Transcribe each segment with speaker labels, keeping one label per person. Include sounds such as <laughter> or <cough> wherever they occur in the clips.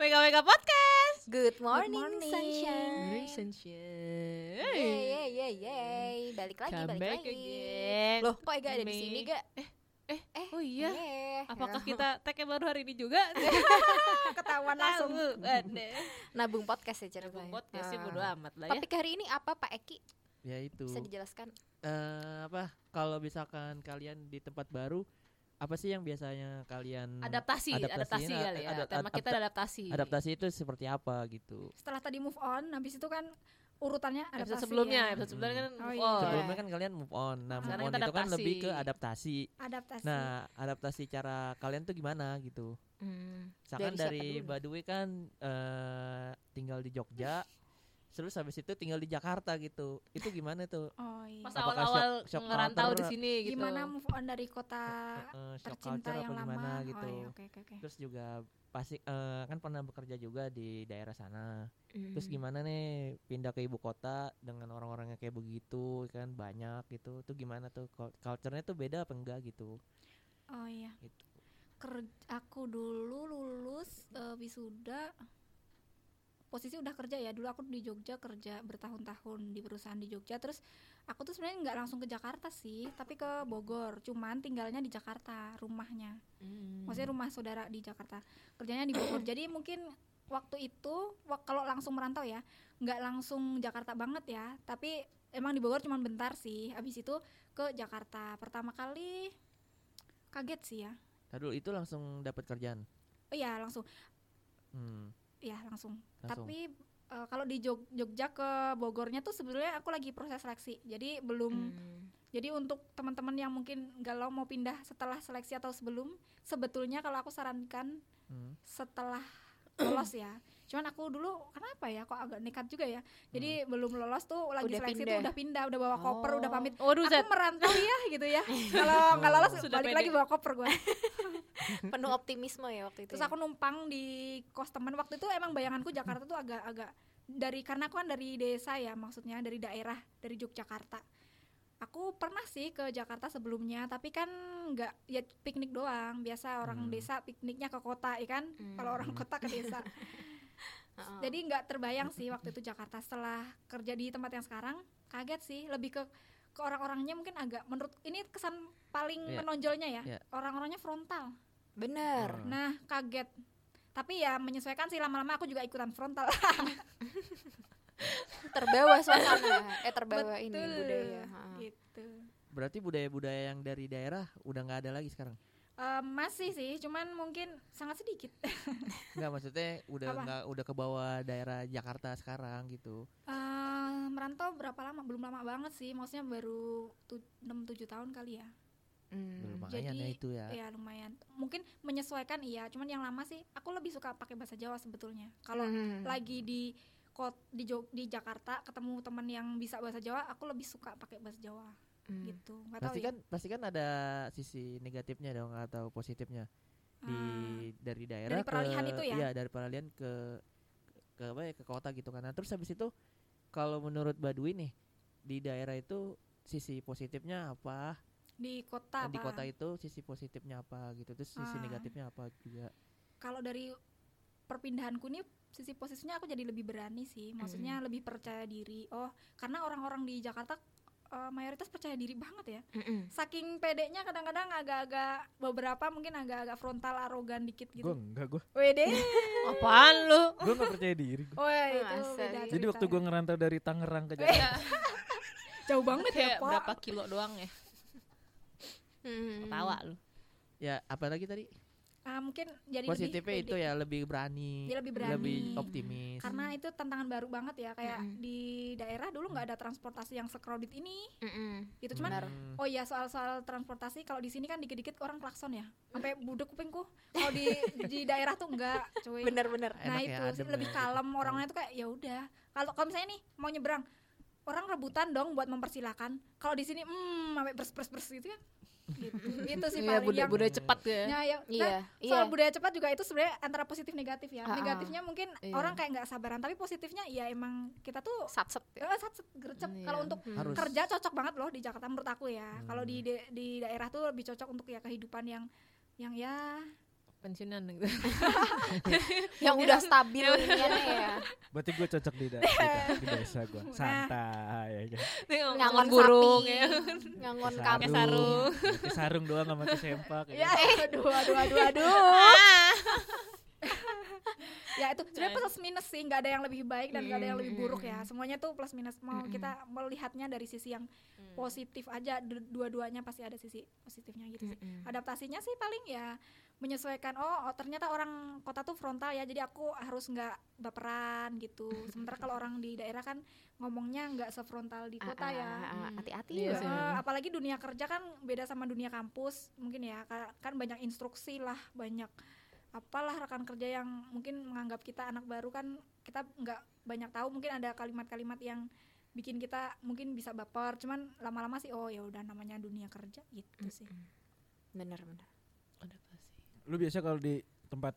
Speaker 1: Wega Wega Podcast.
Speaker 2: Good morning,
Speaker 1: morning.
Speaker 2: sunshine. Yay,
Speaker 1: Sunshine.
Speaker 2: yay, yay, yay. Balik lagi,
Speaker 1: Come
Speaker 2: balik
Speaker 1: back
Speaker 2: lagi.
Speaker 1: again.
Speaker 2: Loh, kok Ega Eh, ada di
Speaker 1: Me.
Speaker 2: sini, Ga?
Speaker 1: Oh iya.
Speaker 2: Yeah.
Speaker 1: Apakah kita tag yang baru hari ini juga?
Speaker 2: ketahuan
Speaker 1: Tahu. Ada.
Speaker 2: Nabung podcast ya ceritanya.
Speaker 1: Nabung podcast sih
Speaker 2: Ah.
Speaker 1: bodo amat lah ya.
Speaker 2: Topik hari ini apa, Pak Eki?
Speaker 3: ya itu
Speaker 2: Bisa dijelaskan?
Speaker 3: Eh, apa kalau misalkan kalian di tempat baru apa sih yang biasanya
Speaker 1: Hmm.
Speaker 3: kalian
Speaker 1: Adaptasi,
Speaker 3: Adaptasi,
Speaker 1: adaptasi
Speaker 3: nah,
Speaker 1: kali ya.
Speaker 3: adap-
Speaker 1: Tema kita
Speaker 3: adap-
Speaker 1: adalah adaptasi.
Speaker 3: adaptasi itu seperti apa gitu
Speaker 4: setelah tadi move on habis itu kan urutannya ya, ada
Speaker 1: Episode sebelumnya, episnya sebelumnya kan
Speaker 4: Oh,
Speaker 1: move
Speaker 4: iya.
Speaker 1: on.
Speaker 3: sebelumnya kan kalian move on nah move
Speaker 1: Sekarang
Speaker 3: on
Speaker 1: kita
Speaker 3: itu kan
Speaker 1: adaptasi.
Speaker 3: lebih ke adaptasi
Speaker 4: adaptasi
Speaker 3: nah adaptasi cara kalian tuh gimana gitu
Speaker 2: Hmm. Dari
Speaker 3: misalkan
Speaker 2: siapa
Speaker 3: dari
Speaker 2: dulu?
Speaker 3: Badui kan eh tinggal di Jogja terus habis itu tinggal di Jakarta gitu itu gimana tuh
Speaker 4: oh iya
Speaker 1: Pas
Speaker 3: Apakah
Speaker 1: awal-awal
Speaker 3: shock- shock
Speaker 1: ngerantau di
Speaker 3: culture?
Speaker 1: sini gitu.
Speaker 4: gimana move on dari kota
Speaker 3: Eh, shock
Speaker 4: Ah, tercinta
Speaker 3: culture
Speaker 4: yang
Speaker 3: apa
Speaker 4: lama
Speaker 3: gimana
Speaker 4: Oh,
Speaker 3: gitu
Speaker 4: iya, oke oke oke
Speaker 3: terus juga pasti eh, kan pernah bekerja juga di daerah sana
Speaker 2: Hmm.
Speaker 3: Terus gimana nih pindah ke ibu kota dengan orang-orangnya kayak begitu kan banyak gitu. Tuh gimana tuh Cul- culture-nya tuh beda apa enggak gitu.
Speaker 4: oh iya
Speaker 3: Gitu.
Speaker 4: Ker- aku dulu lulus eh, wisuda posisi udah kerja ya dulu aku di Jogja kerja bertahun-tahun di perusahaan di Jogja terus aku tuh sebenarnya nggak langsung ke Jakarta sih tapi ke Bogor cuman tinggalnya di Jakarta rumahnya
Speaker 1: Hmm.
Speaker 4: maksudnya rumah saudara di Jakarta kerjanya di Bogor jadi mungkin waktu itu wak- kalau langsung merantau ya nggak langsung Jakarta banget ya tapi emang di Bogor cuma bentar sih habis itu ke Jakarta pertama kali kaget sih ya
Speaker 3: Tadi dulu itu langsung dapat kerjaan.
Speaker 4: oh ya langsung
Speaker 3: Hmm,
Speaker 4: ya langsung,
Speaker 3: langsung.
Speaker 4: tapi eh, kalau di Jog- Jogja ke Bogornya tuh sebenarnya aku lagi proses seleksi jadi belum
Speaker 2: Hmm.
Speaker 4: jadi untuk teman-teman yang mungkin galau mau pindah setelah seleksi atau sebelum sebetulnya kalau aku sarankan
Speaker 3: Hmm,
Speaker 4: setelah lolos ya. Cuman aku dulu kenapa ya kok agak nekat juga ya. Jadi belum lolos tuh lagi
Speaker 2: Udah
Speaker 4: seleksi
Speaker 2: pindah.
Speaker 4: tuh udah pindah, udah bawa koper, udah pamit.
Speaker 1: Waduh, Zat.
Speaker 4: Aku merantau ya gitu ya. Kalau nggak lolos
Speaker 1: Sudah
Speaker 4: balik
Speaker 1: pede.
Speaker 4: lagi bawa koper gue.
Speaker 2: Penuh optimisme ya waktu itu.
Speaker 4: Terus aku numpang di kos teman waktu itu emang bayanganku Jakarta tuh agak-agak dari karena aku kan dari desa ya maksudnya dari daerah dari Yogyakarta. Aku pernah sih ke Jakarta sebelumnya, tapi kan nggak ya piknik doang. Biasa orang
Speaker 3: Hmm.
Speaker 4: desa pikniknya ke kota, ya kan? Kalau orang
Speaker 3: Hmm.
Speaker 4: kota ke desa.
Speaker 3: Ah.
Speaker 2: Ah.
Speaker 4: Jadi nggak terbayang sih waktu itu Jakarta setelah kerja di tempat yang sekarang kaget sih lebih ke ke orang-orangnya mungkin agak menurut ini kesan paling
Speaker 3: Iya.
Speaker 4: menonjolnya ya
Speaker 3: Iya.
Speaker 4: orang-orangnya
Speaker 1: Ah.
Speaker 4: frontal.
Speaker 2: bener.
Speaker 3: Hmm.
Speaker 4: Nah kaget tapi ya menyesuaikan sih lama-lama aku juga ikutan frontal.
Speaker 3: Ah.
Speaker 2: Terbawa
Speaker 1: <laughs>
Speaker 2: suasana. Eh terbawa ini
Speaker 4: Betul.
Speaker 2: budaya. ya. Ah. Ha.
Speaker 4: <laughs>
Speaker 1: Iya.
Speaker 4: gitu.
Speaker 3: Berarti budaya-budaya yang dari daerah udah nggak ada lagi sekarang.
Speaker 4: Eh, masih sih cuman mungkin sangat sedikit. <laughs>
Speaker 3: Enggak maksudnya udah
Speaker 4: Apa?
Speaker 3: nggak udah ke bawah daerah Jakarta sekarang gitu.
Speaker 4: Eh, merantau berapa lama? Belum lama banget sih, maksudnya baru 6-7 tahun kali ya.
Speaker 2: Hmm.
Speaker 3: Lumayan ya
Speaker 4: Jadi,
Speaker 3: itu ya.
Speaker 4: Iya lumayan. Mungkin menyesuaikan iya, cuman yang lama sih aku lebih suka pakai bahasa Jawa sebetulnya. Kalau
Speaker 2: Hmm.
Speaker 3: Mm.
Speaker 4: lagi di kot di Jog- di Jakarta ketemu teman yang bisa bahasa Jawa aku lebih suka pakai bahasa Jawa
Speaker 2: Hmm.
Speaker 4: gitu nggak tahu
Speaker 3: Pasti
Speaker 4: ya
Speaker 3: kan pasti kan ada sisi negatifnya dong atau positifnya di dari daerah ke,
Speaker 4: peralihan Ah. itu ya?
Speaker 3: iya, dari peralihan ke ke apa ya ke kota gitu kan nah, terus habis itu kalau menurut Badui nih di daerah itu sisi positifnya apa
Speaker 4: di kota
Speaker 3: di
Speaker 4: apa?
Speaker 3: kota ya. itu sisi positifnya apa gitu terus sisi
Speaker 4: Ah.
Speaker 3: negatifnya apa juga
Speaker 4: kalau dari perpindahanku nih sisi posisinya aku jadi lebih berani
Speaker 3: Mm.
Speaker 4: sih maksudnya lebih percaya diri oh karena orang-orang di Jakarta eh, mayoritas percaya diri banget ya
Speaker 3: Mm.
Speaker 2: Mm-mm.
Speaker 4: saking pedenya kadang-kadang agak-agak beberapa mungkin agak-agak frontal arogan dikit gitu
Speaker 5: enggak gue
Speaker 4: wede
Speaker 1: Apaan lu?
Speaker 5: gue nggak percaya diri gua.
Speaker 4: oh itu
Speaker 2: Masa
Speaker 4: beda Iya.
Speaker 2: sih?
Speaker 5: jadi waktu
Speaker 4: ceritanya.
Speaker 5: gue ngerantau dari Tangerang ke
Speaker 4: Weh,
Speaker 5: Jakarta
Speaker 1: <laughs>
Speaker 4: jauh banget ya
Speaker 1: Kayak
Speaker 4: Pak.
Speaker 1: berapa kilo doang ya?
Speaker 2: Hmm.
Speaker 1: Ketawa lu.
Speaker 3: ya apalagi tadi
Speaker 4: Ah, mungkin jadi lebih
Speaker 3: positifnya
Speaker 4: pede.
Speaker 3: itu ya lebih berani
Speaker 4: Dia lebih berani.
Speaker 3: optimis
Speaker 4: karena itu tantangan baru banget ya kayak
Speaker 2: Mm-mm.
Speaker 4: di daerah dulu nggak ada transportasi yang secrowded ini
Speaker 2: Mm-mm.
Speaker 4: gitu cuman <laughs>
Speaker 2: Benar.
Speaker 3: Hmm.
Speaker 4: oh iya soal-soal transportasi kalau di sini kan dikit-dikit orang klakson ya sampai budek kupingku kalau di di daerah tuh enggak cuy
Speaker 2: Bener-bener.
Speaker 3: Enak
Speaker 4: nah
Speaker 3: ya,
Speaker 4: itu sih
Speaker 3: adem
Speaker 4: lebih
Speaker 3: ya.
Speaker 4: kalem orangnya tuh kayak ya udah kalau kalau misalnya nih mau nyebrang orang rebutan dong buat mempersilahkan kalau di sini hmm sampai bers bers bers gitu kan gitu. itu sih
Speaker 1: Iya,
Speaker 4: paling
Speaker 1: budaya,
Speaker 4: yang-
Speaker 1: budaya cepat ya.
Speaker 4: Ya, ya. Nah,
Speaker 2: Iya. Iya.
Speaker 4: soal budaya cepat juga itu sebenarnya antara positif negatif ya
Speaker 2: Ah, ah.
Speaker 4: negatifnya mungkin
Speaker 1: Iya.
Speaker 4: orang kayak nggak sabaran tapi positifnya ya emang kita tuh
Speaker 2: Satset. ya.
Speaker 4: eh, satset, gercep
Speaker 1: Iya.
Speaker 4: kalau untuk
Speaker 2: Hmm.
Speaker 3: Harus.
Speaker 4: kerja cocok banget loh di Jakarta menurut aku ya kalau di,
Speaker 3: Hmm.
Speaker 4: di di daerah tuh lebih cocok untuk ya kehidupan yang yang ya
Speaker 1: pensiunan gitu. <laughs>
Speaker 2: yang udah stabil iniannya ya
Speaker 5: Berarti gue cocok di daerah
Speaker 4: <laughs>
Speaker 5: kita, di desa gue.
Speaker 4: Nah.
Speaker 5: Santai ya kan.
Speaker 1: Nih, ngomong
Speaker 2: ngangon
Speaker 1: burung
Speaker 2: sapi
Speaker 1: ya.
Speaker 2: ngangon
Speaker 5: Ke
Speaker 2: kambing
Speaker 1: sarung.
Speaker 5: Ke sarung doang sama ke sempak ya.
Speaker 4: Ya,
Speaker 5: kan.
Speaker 4: <laughs> aduh, aduh, aduh, aduh.
Speaker 1: Ah.
Speaker 4: ya
Speaker 5: <laughs>
Speaker 4: itu
Speaker 1: Dan-
Speaker 4: sebenarnya plus minus sih, nggak ada yang lebih baik dan nggak ada yang lebih buruk ya.
Speaker 2: Mm-mm.
Speaker 4: Semuanya tuh plus minus. Mau
Speaker 2: Mm-mm.
Speaker 4: kita melihatnya dari sisi yang positif aja. du- Dua-duanya pasti ada sisi positifnya
Speaker 1: Hmm.
Speaker 4: gitu sih. Adaptasinya sih paling ya menyesuaikan. Oh, oh, ternyata orang kota tuh frontal ya, jadi aku harus nggak baperan gitu. Sementara kalau orang di daerah kan ngomongnya nggak sefrontal di kota
Speaker 2: Ah, ah,
Speaker 4: ya.
Speaker 2: ah, ah,
Speaker 1: Hmm.
Speaker 2: hati-hati
Speaker 1: Iya
Speaker 2: ya
Speaker 1: sih.
Speaker 4: Eh, apalagi dunia kerja kan beda sama dunia kampus mungkin ya ka- kan banyak instruksi lah banyak apalah rekan kerja yang mungkin menganggap kita anak baru kan kita nggak banyak tahu mungkin ada kalimat-kalimat yang bikin kita mungkin bisa baper cuman lama-lama sih oh ya udah namanya dunia kerja gitu sih
Speaker 2: bener bener
Speaker 5: kan? Lu biasa kalau di tempat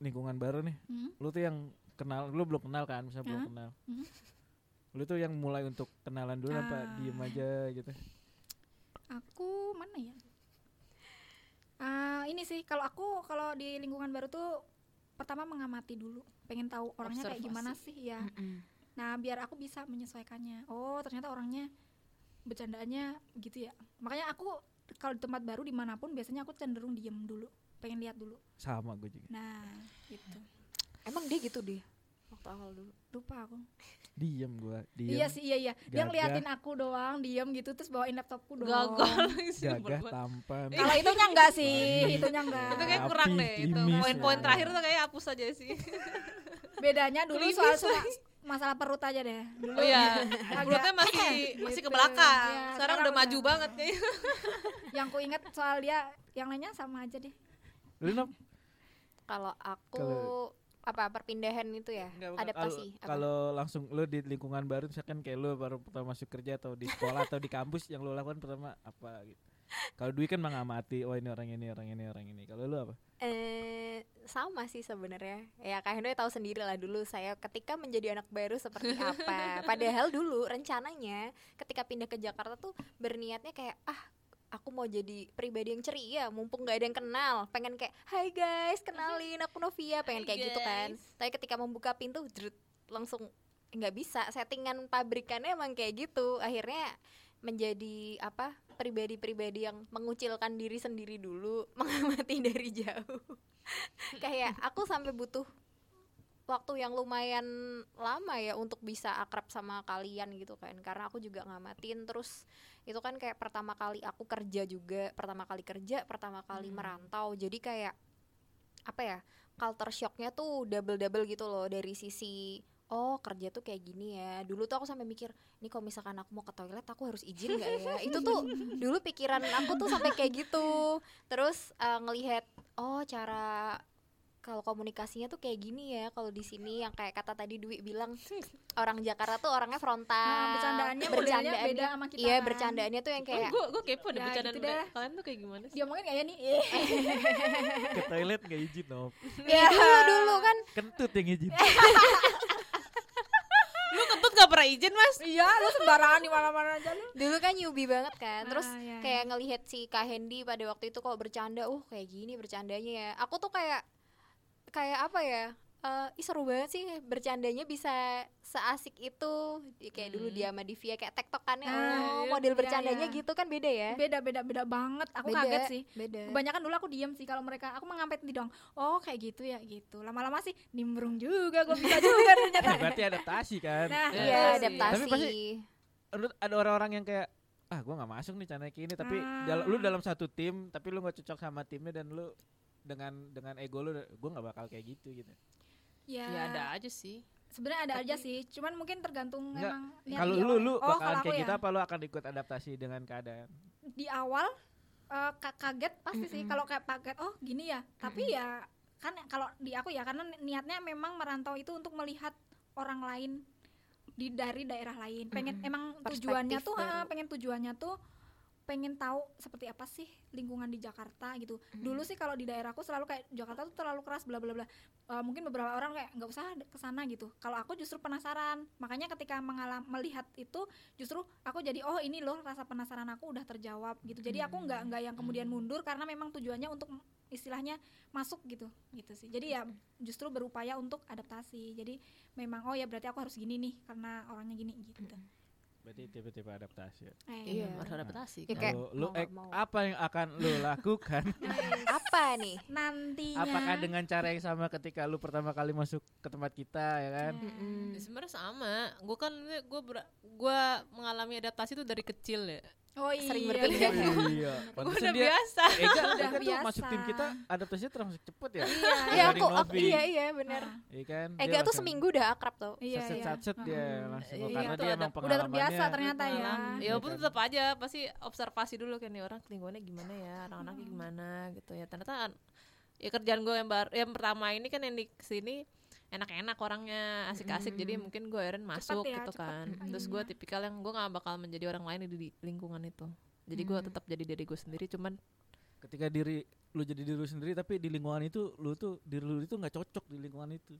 Speaker 5: lingkungan baru nih,
Speaker 4: Hmm?
Speaker 5: lu tuh yang kenal, lu belum kenal kan, misalnya belum
Speaker 4: Hah?
Speaker 5: kenal.
Speaker 4: Hmm.
Speaker 5: Lu tuh yang mulai untuk kenalan dulu
Speaker 4: Ah.
Speaker 5: apa diem aja gitu.
Speaker 4: aku mana ya Ah, ini sih kalau aku kalau di lingkungan baru tuh pertama mengamati dulu pengen tahu orangnya kayak gimana sih ya
Speaker 1: Mm.
Speaker 4: Nah, biar aku bisa menyesuaikannya. Oh, ternyata orangnya bercandaannya gitu ya. Makanya aku kalau di tempat baru dimanapun biasanya aku cenderung diem dulu, pengen lihat dulu.
Speaker 5: Sama gue juga.
Speaker 4: Nah, gitu.
Speaker 2: emang dia gitu dia waktu awal dulu
Speaker 4: Lupa aku.
Speaker 5: Diem gue, diem.
Speaker 4: Iya sih, iya iya. Dia
Speaker 5: Gagah.
Speaker 4: ngeliatin aku doang, diem gitu terus bawain laptopku doang.
Speaker 1: <laughs> Gagal.
Speaker 5: Gagah, tampan.
Speaker 4: Kalau itunya enggak sih,
Speaker 5: Wangi.
Speaker 4: itunya enggak.
Speaker 1: Itu kayak kurang
Speaker 5: Rapi,
Speaker 1: deh itu.
Speaker 5: klimis,
Speaker 1: Poin-poin
Speaker 5: ya.
Speaker 1: terakhir tuh kayak hapus aja
Speaker 4: <laughs>
Speaker 1: sih.
Speaker 4: Bedanya dulu
Speaker 1: Klimis
Speaker 4: soal soal masalah perut aja deh. Dulu
Speaker 1: Oh iya.
Speaker 4: agak-
Speaker 1: Mulutnya masih masih ke
Speaker 4: gitu.
Speaker 1: belakang.
Speaker 4: Iya,
Speaker 1: sekarang udah maju banget kayaknya.
Speaker 4: Yang ku ingat soal dia, yang lainnya sama aja deh.
Speaker 5: Lu Nop,
Speaker 2: kalau aku
Speaker 5: Kalau-
Speaker 2: apa perpindahan itu ya
Speaker 5: Enggak, bukan.
Speaker 2: adaptasi
Speaker 5: Kalau- Kalau langsung lu di lingkungan baru misalkan kayak lu baru pertama masuk kerja atau di sekolah atau di kampus yang lu lakukan pertama apa gitu. Kalau Dwi kan mengamati, oh ini orang ini, orang ini, orang ini. Kalau lu apa?
Speaker 2: Eh, sama sih sebenarnya. Ya Kak Hendoy tahu sendiri lah dulu saya ketika menjadi anak baru seperti apa.
Speaker 1: <laughs>
Speaker 2: Padahal dulu rencananya ketika pindah ke Jakarta tuh berniatnya kayak ah aku mau jadi pribadi yang ceria mumpung nggak ada yang kenal pengen kayak hai guys kenalin aku Novia pengen
Speaker 1: Hai
Speaker 2: kayak gitu kan
Speaker 1: guys.
Speaker 2: tapi ketika membuka pintu jrut, langsung nggak bisa settingan pabrikannya emang kayak gitu akhirnya menjadi apa pribadi-pribadi yang mengucilkan diri sendiri dulu <laughs> mengamati dari jauh kayak aku sampai butuh waktu yang lumayan lama ya untuk bisa akrab sama kalian gitu kan karena aku juga ngamatin terus itu kan kayak pertama kali aku kerja juga pertama kali kerja pertama kali merantau jadi kayak apa ya culture shocknya tuh double double gitu loh dari sisi oh kerja tuh kayak gini ya dulu tuh aku sampai mikir ini kalau misalkan aku mau ke toilet aku harus izin nggak ya itu tuh dulu pikiran aku tuh sampai kayak gitu terus eh, ngelihat oh cara kalau komunikasinya tuh kayak gini ya kalau di sini yang kayak kata tadi Dwi bilang orang Jakarta tuh orangnya frontal
Speaker 4: Nah, bercandaannya modelnya
Speaker 2: Bercandaannya-
Speaker 4: beda sama kita.
Speaker 2: Ah, iya
Speaker 4: kan.
Speaker 2: bercandaannya tuh yang kayak
Speaker 1: Gue gue kepo deh
Speaker 4: Ya,
Speaker 1: bercandaan
Speaker 4: gitu
Speaker 1: mereka.
Speaker 4: dah.
Speaker 1: Kalian tuh kayak gimana sih?
Speaker 4: Dia mungkin kayak nih. eh.
Speaker 5: Ke toilet nggak izin, Nop.
Speaker 2: ya
Speaker 4: Iya.
Speaker 2: dulu dulu kan
Speaker 5: Kentut yang
Speaker 4: <laughs>
Speaker 5: izin.
Speaker 1: Lu kentut gak pernah izin, Mas?
Speaker 4: <laughs> Iya, lu sembarangan di mana-mana aja lu.
Speaker 2: dulu kan newbie banget kan terus
Speaker 4: Ah, iya,
Speaker 2: kayak ngelihat si Kak Hendy pada waktu itu kok bercanda uh kayak gini bercandanya ya aku tuh kayak kayak apa ya Eh ih seru banget sih bercandanya bisa seasik itu Ya, kayak dulu
Speaker 1: Hmm.
Speaker 2: dia sama Divya kayak tektokannya
Speaker 4: Ah,
Speaker 2: oh
Speaker 4: iya,
Speaker 2: model
Speaker 4: iya,
Speaker 2: bercandanya
Speaker 4: iya.
Speaker 2: gitu kan beda ya
Speaker 4: beda beda beda banget aku
Speaker 2: Beda, Iya.
Speaker 4: kaget sih
Speaker 2: beda
Speaker 4: kebanyakan dulu aku diem sih kalau mereka aku mengampet di dong oh kayak gitu ya gitu lama-lama sih nimbrung juga gue
Speaker 2: <laughs>
Speaker 4: bisa juga ternyata
Speaker 5: Eh, berarti adaptasi kan.
Speaker 4: Nah,
Speaker 5: Eh,
Speaker 2: iya
Speaker 1: Adaptasi.
Speaker 2: adaptasi
Speaker 5: Tapi pasti- menurut ada orang-orang yang kayak ah gua nggak masuk nih caranya kayak ini tapi dal- lu
Speaker 4: Ah.
Speaker 5: dalam satu tim tapi lu nggak cocok sama timnya dan lu dengan dengan ego lu gua nggak bakal kayak gitu gitu.
Speaker 4: ya,
Speaker 5: Iya,
Speaker 1: Ya ada aja sih.
Speaker 4: sebenarnya ada aja sih cuman mungkin tergantung
Speaker 5: Enggak.
Speaker 4: emang niat
Speaker 5: Kalau
Speaker 4: di
Speaker 5: lu
Speaker 4: awal.
Speaker 5: lu
Speaker 4: Oh,
Speaker 5: bakalan
Speaker 4: kalau aku
Speaker 5: kayak
Speaker 4: ya,
Speaker 5: kita apa lu akan ikut adaptasi dengan keadaan?
Speaker 4: di awal eh, ka- kaget pasti sih
Speaker 2: Mm-mm.
Speaker 4: kalau kayak kaget oh gini ya tapi ya kan kalau di aku ya karena ni- niatnya memang merantau itu untuk melihat orang lain di dari daerah lain pengen
Speaker 2: Mm-mm.
Speaker 4: emang
Speaker 2: Perspektif
Speaker 4: tujuannya tuh ha,
Speaker 2: baru.
Speaker 4: pengen tujuannya tuh pengen tahu seperti apa sih lingkungan di Jakarta gitu dulu sih kalau di daerahku selalu kayak Jakarta tuh terlalu keras bla bla bla Eh, mungkin beberapa orang kayak nggak usah de- kesana gitu kalau aku justru penasaran makanya ketika mengalam melihat itu justru aku jadi oh ini loh rasa penasaran aku udah terjawab gitu jadi aku nggak nggak yang kemudian mundur karena memang tujuannya untuk istilahnya masuk gitu gitu sih jadi ya justru berupaya untuk adaptasi jadi memang oh ya berarti aku harus gini nih karena orangnya gini gitu
Speaker 5: Berarti tipe-tipe adaptasi. ya.
Speaker 4: Eh,
Speaker 1: Iya,
Speaker 4: gitu.
Speaker 1: harus adaptasi.
Speaker 2: Ya, kayak-
Speaker 5: Kalau lu
Speaker 2: mau nggak
Speaker 5: ek-
Speaker 2: mau.
Speaker 5: apa yang akan lu lakukan?
Speaker 2: apa
Speaker 4: <laughs>
Speaker 2: nih
Speaker 4: Nah, nantinya
Speaker 5: Apakah dengan cara yang sama ketika lu pertama kali masuk ke tempat kita ya kan?
Speaker 4: Hmm.
Speaker 2: Mm-mm.
Speaker 1: Ya, sebenarnya sama. Gue kan gue gue mengalami adaptasi itu dari kecil ya.
Speaker 4: oh iya,
Speaker 2: Sering
Speaker 4: iya,
Speaker 5: <laughs>
Speaker 2: berpindah.
Speaker 4: iya.
Speaker 5: iya.
Speaker 1: Gue
Speaker 5: Pantesan
Speaker 1: udah
Speaker 5: dia
Speaker 1: biasa.
Speaker 5: Ega,
Speaker 4: Udah
Speaker 5: Ega tuh masuk
Speaker 4: biasa.
Speaker 5: tim kita adaptasinya termasuk cepet ya.
Speaker 2: Iya,
Speaker 5: Dari
Speaker 2: aku, aku-
Speaker 5: Novi.
Speaker 2: iya iya benar.
Speaker 4: Ah,
Speaker 5: Iya kan? Dia
Speaker 2: Ega tuh
Speaker 5: langsung
Speaker 2: seminggu udah akrab tuh.
Speaker 4: iya,
Speaker 5: saset-
Speaker 4: iya.
Speaker 5: saset dia
Speaker 4: Mm-mm.
Speaker 5: langsung
Speaker 1: Iya,
Speaker 5: karena
Speaker 1: itu
Speaker 5: dia
Speaker 1: ada-
Speaker 5: emang
Speaker 4: udah terbiasa
Speaker 5: pengalamannya.
Speaker 4: ternyata ya
Speaker 1: Pengalaman.
Speaker 5: Iya
Speaker 1: Ya walaupun
Speaker 5: kan?
Speaker 1: tetap aja pasti observasi dulu kan nih orang lingkungannya gimana ya, anak-anaknya
Speaker 4: Hmm.
Speaker 1: gimana gitu ya. Ternyata an- ya kerjaan gue yang baru yang pertama ini kan yang di sini enak-enak orangnya asik-asik jadi mungkin gue Aaron masuk
Speaker 4: Hmm. ya,
Speaker 1: gitu
Speaker 4: cepat.
Speaker 1: kan
Speaker 4: Mm.
Speaker 1: terus gue tipikal yang gue nggak bakal menjadi orang lain di, di lingkungan itu jadi gue
Speaker 4: Hmm.
Speaker 1: tetap jadi diri gue sendiri cuman
Speaker 5: ketika diri lu jadi diri lu sendiri tapi di lingkungan itu lu tuh diri lu itu nggak cocok di lingkungan itu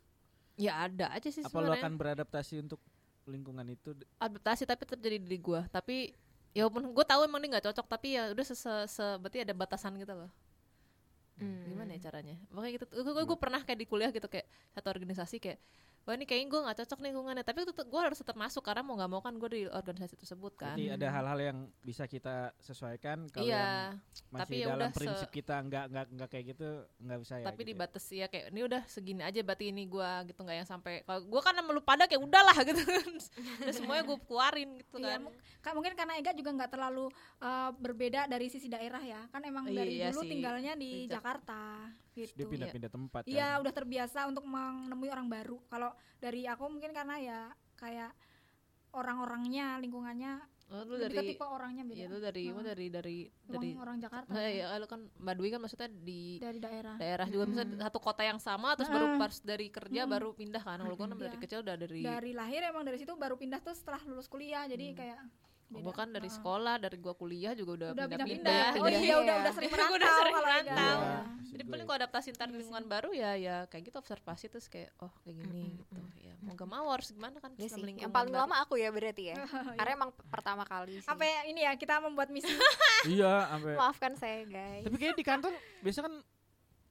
Speaker 1: ya ada aja sih
Speaker 5: apa lu
Speaker 1: sebenarnya
Speaker 5: akan beradaptasi untuk lingkungan itu D-
Speaker 1: adaptasi tapi tetap jadi diri gue tapi ya walaupun gue tahu emang dia nggak cocok tapi ya udah se, se- se- berarti ada batasan gitu loh
Speaker 4: Mm.
Speaker 2: Hmm.
Speaker 1: gimana ya caranya makanya gitu gue gue pernah kayak di kuliah gitu kayak satu organisasi kayak wah ini kayaknya gue nggak cocok nih lingkungannya tapi tetep gue harus tetap masuk karena mau nggak mau kan gue di organisasi tersebut kan
Speaker 5: jadi ada hal-hal yang bisa kita sesuaikan kalau yang
Speaker 1: iya
Speaker 5: masih
Speaker 1: tapi ya
Speaker 5: dalam
Speaker 1: udah se-
Speaker 5: prinsip kita nggak nggak nggak kayak gitu nggak bisa ya
Speaker 1: tapi
Speaker 5: gitu ya.
Speaker 1: dibatasi ya kayak ini udah segini aja berarti ini gue gitu nggak yang sampai kalau gue kan sama lu pada kayak udahlah <laughs> gitu kan Udah semuanya gue keluarin gitu
Speaker 4: Iya,
Speaker 1: kan
Speaker 4: mu- ka- mungkin karena Ega juga nggak terlalu uh, berbeda dari sisi daerah ya, kan emang dari
Speaker 1: Iya
Speaker 4: dulu
Speaker 1: sih,
Speaker 4: tinggalnya
Speaker 1: di
Speaker 4: di,
Speaker 1: Jak-
Speaker 4: Jakarta
Speaker 5: dia
Speaker 4: gitu.
Speaker 5: pindah-pindah tempat kan.
Speaker 4: Iya, udah terbiasa untuk menemui orang baru. Kalau dari aku mungkin karena ya kayak orang-orangnya, lingkungannya,
Speaker 1: Oh, lu
Speaker 4: lebih ke
Speaker 1: dari
Speaker 4: tipe orangnya beda.
Speaker 1: ya lu dari
Speaker 4: Nah,
Speaker 1: lu dari dari dari
Speaker 4: emang orang Jakarta
Speaker 1: Nah,
Speaker 4: ya,
Speaker 1: ya, lu kan Mbak Dwi kan maksudnya di
Speaker 4: dari daerah.
Speaker 1: daerah juga
Speaker 2: Hmm.
Speaker 1: misalnya satu kota yang sama terus baru pas dari kerja baru pindah kan kalau
Speaker 2: Hmm,
Speaker 1: gue kan dari
Speaker 4: Iya.
Speaker 1: kecil udah dari,
Speaker 4: Dari lahir emang dari situ baru pindah tuh setelah lulus kuliah. Jadi kayak
Speaker 1: gua
Speaker 4: beda.
Speaker 1: Hmm. kan dari
Speaker 4: Nah,
Speaker 1: sekolah dari gue kuliah juga udah,
Speaker 4: udah
Speaker 1: pindah-pindah
Speaker 4: pindah-pindah. Oh
Speaker 2: Ah. pindah.
Speaker 4: iya, udah
Speaker 2: Iya.
Speaker 4: udah sering
Speaker 1: <laughs> Udah
Speaker 4: merantau.
Speaker 1: sering
Speaker 4: kalau Ega.
Speaker 1: merantau.
Speaker 4: Iya.
Speaker 5: Maksud
Speaker 1: jadi
Speaker 5: gue
Speaker 1: paling kalau adaptasi ntar
Speaker 2: Iya
Speaker 1: di lingkungan baru ya ya kayak gitu observasi terus kayak oh kayak gini gitu ya mau gak mau harus gimana kan sama
Speaker 2: Iya sih. Yang
Speaker 1: lingkungan
Speaker 2: paling
Speaker 1: baru.
Speaker 2: lama aku ya berarti
Speaker 4: <laughs>
Speaker 2: ya. Karena emang p- pertama kali sih.
Speaker 4: Iya. Apa ya, ini ya kita membuat misi
Speaker 5: iya sampai
Speaker 2: Maafkan saya, guys.
Speaker 5: <laughs> tapi kayaknya di kantor biasa kan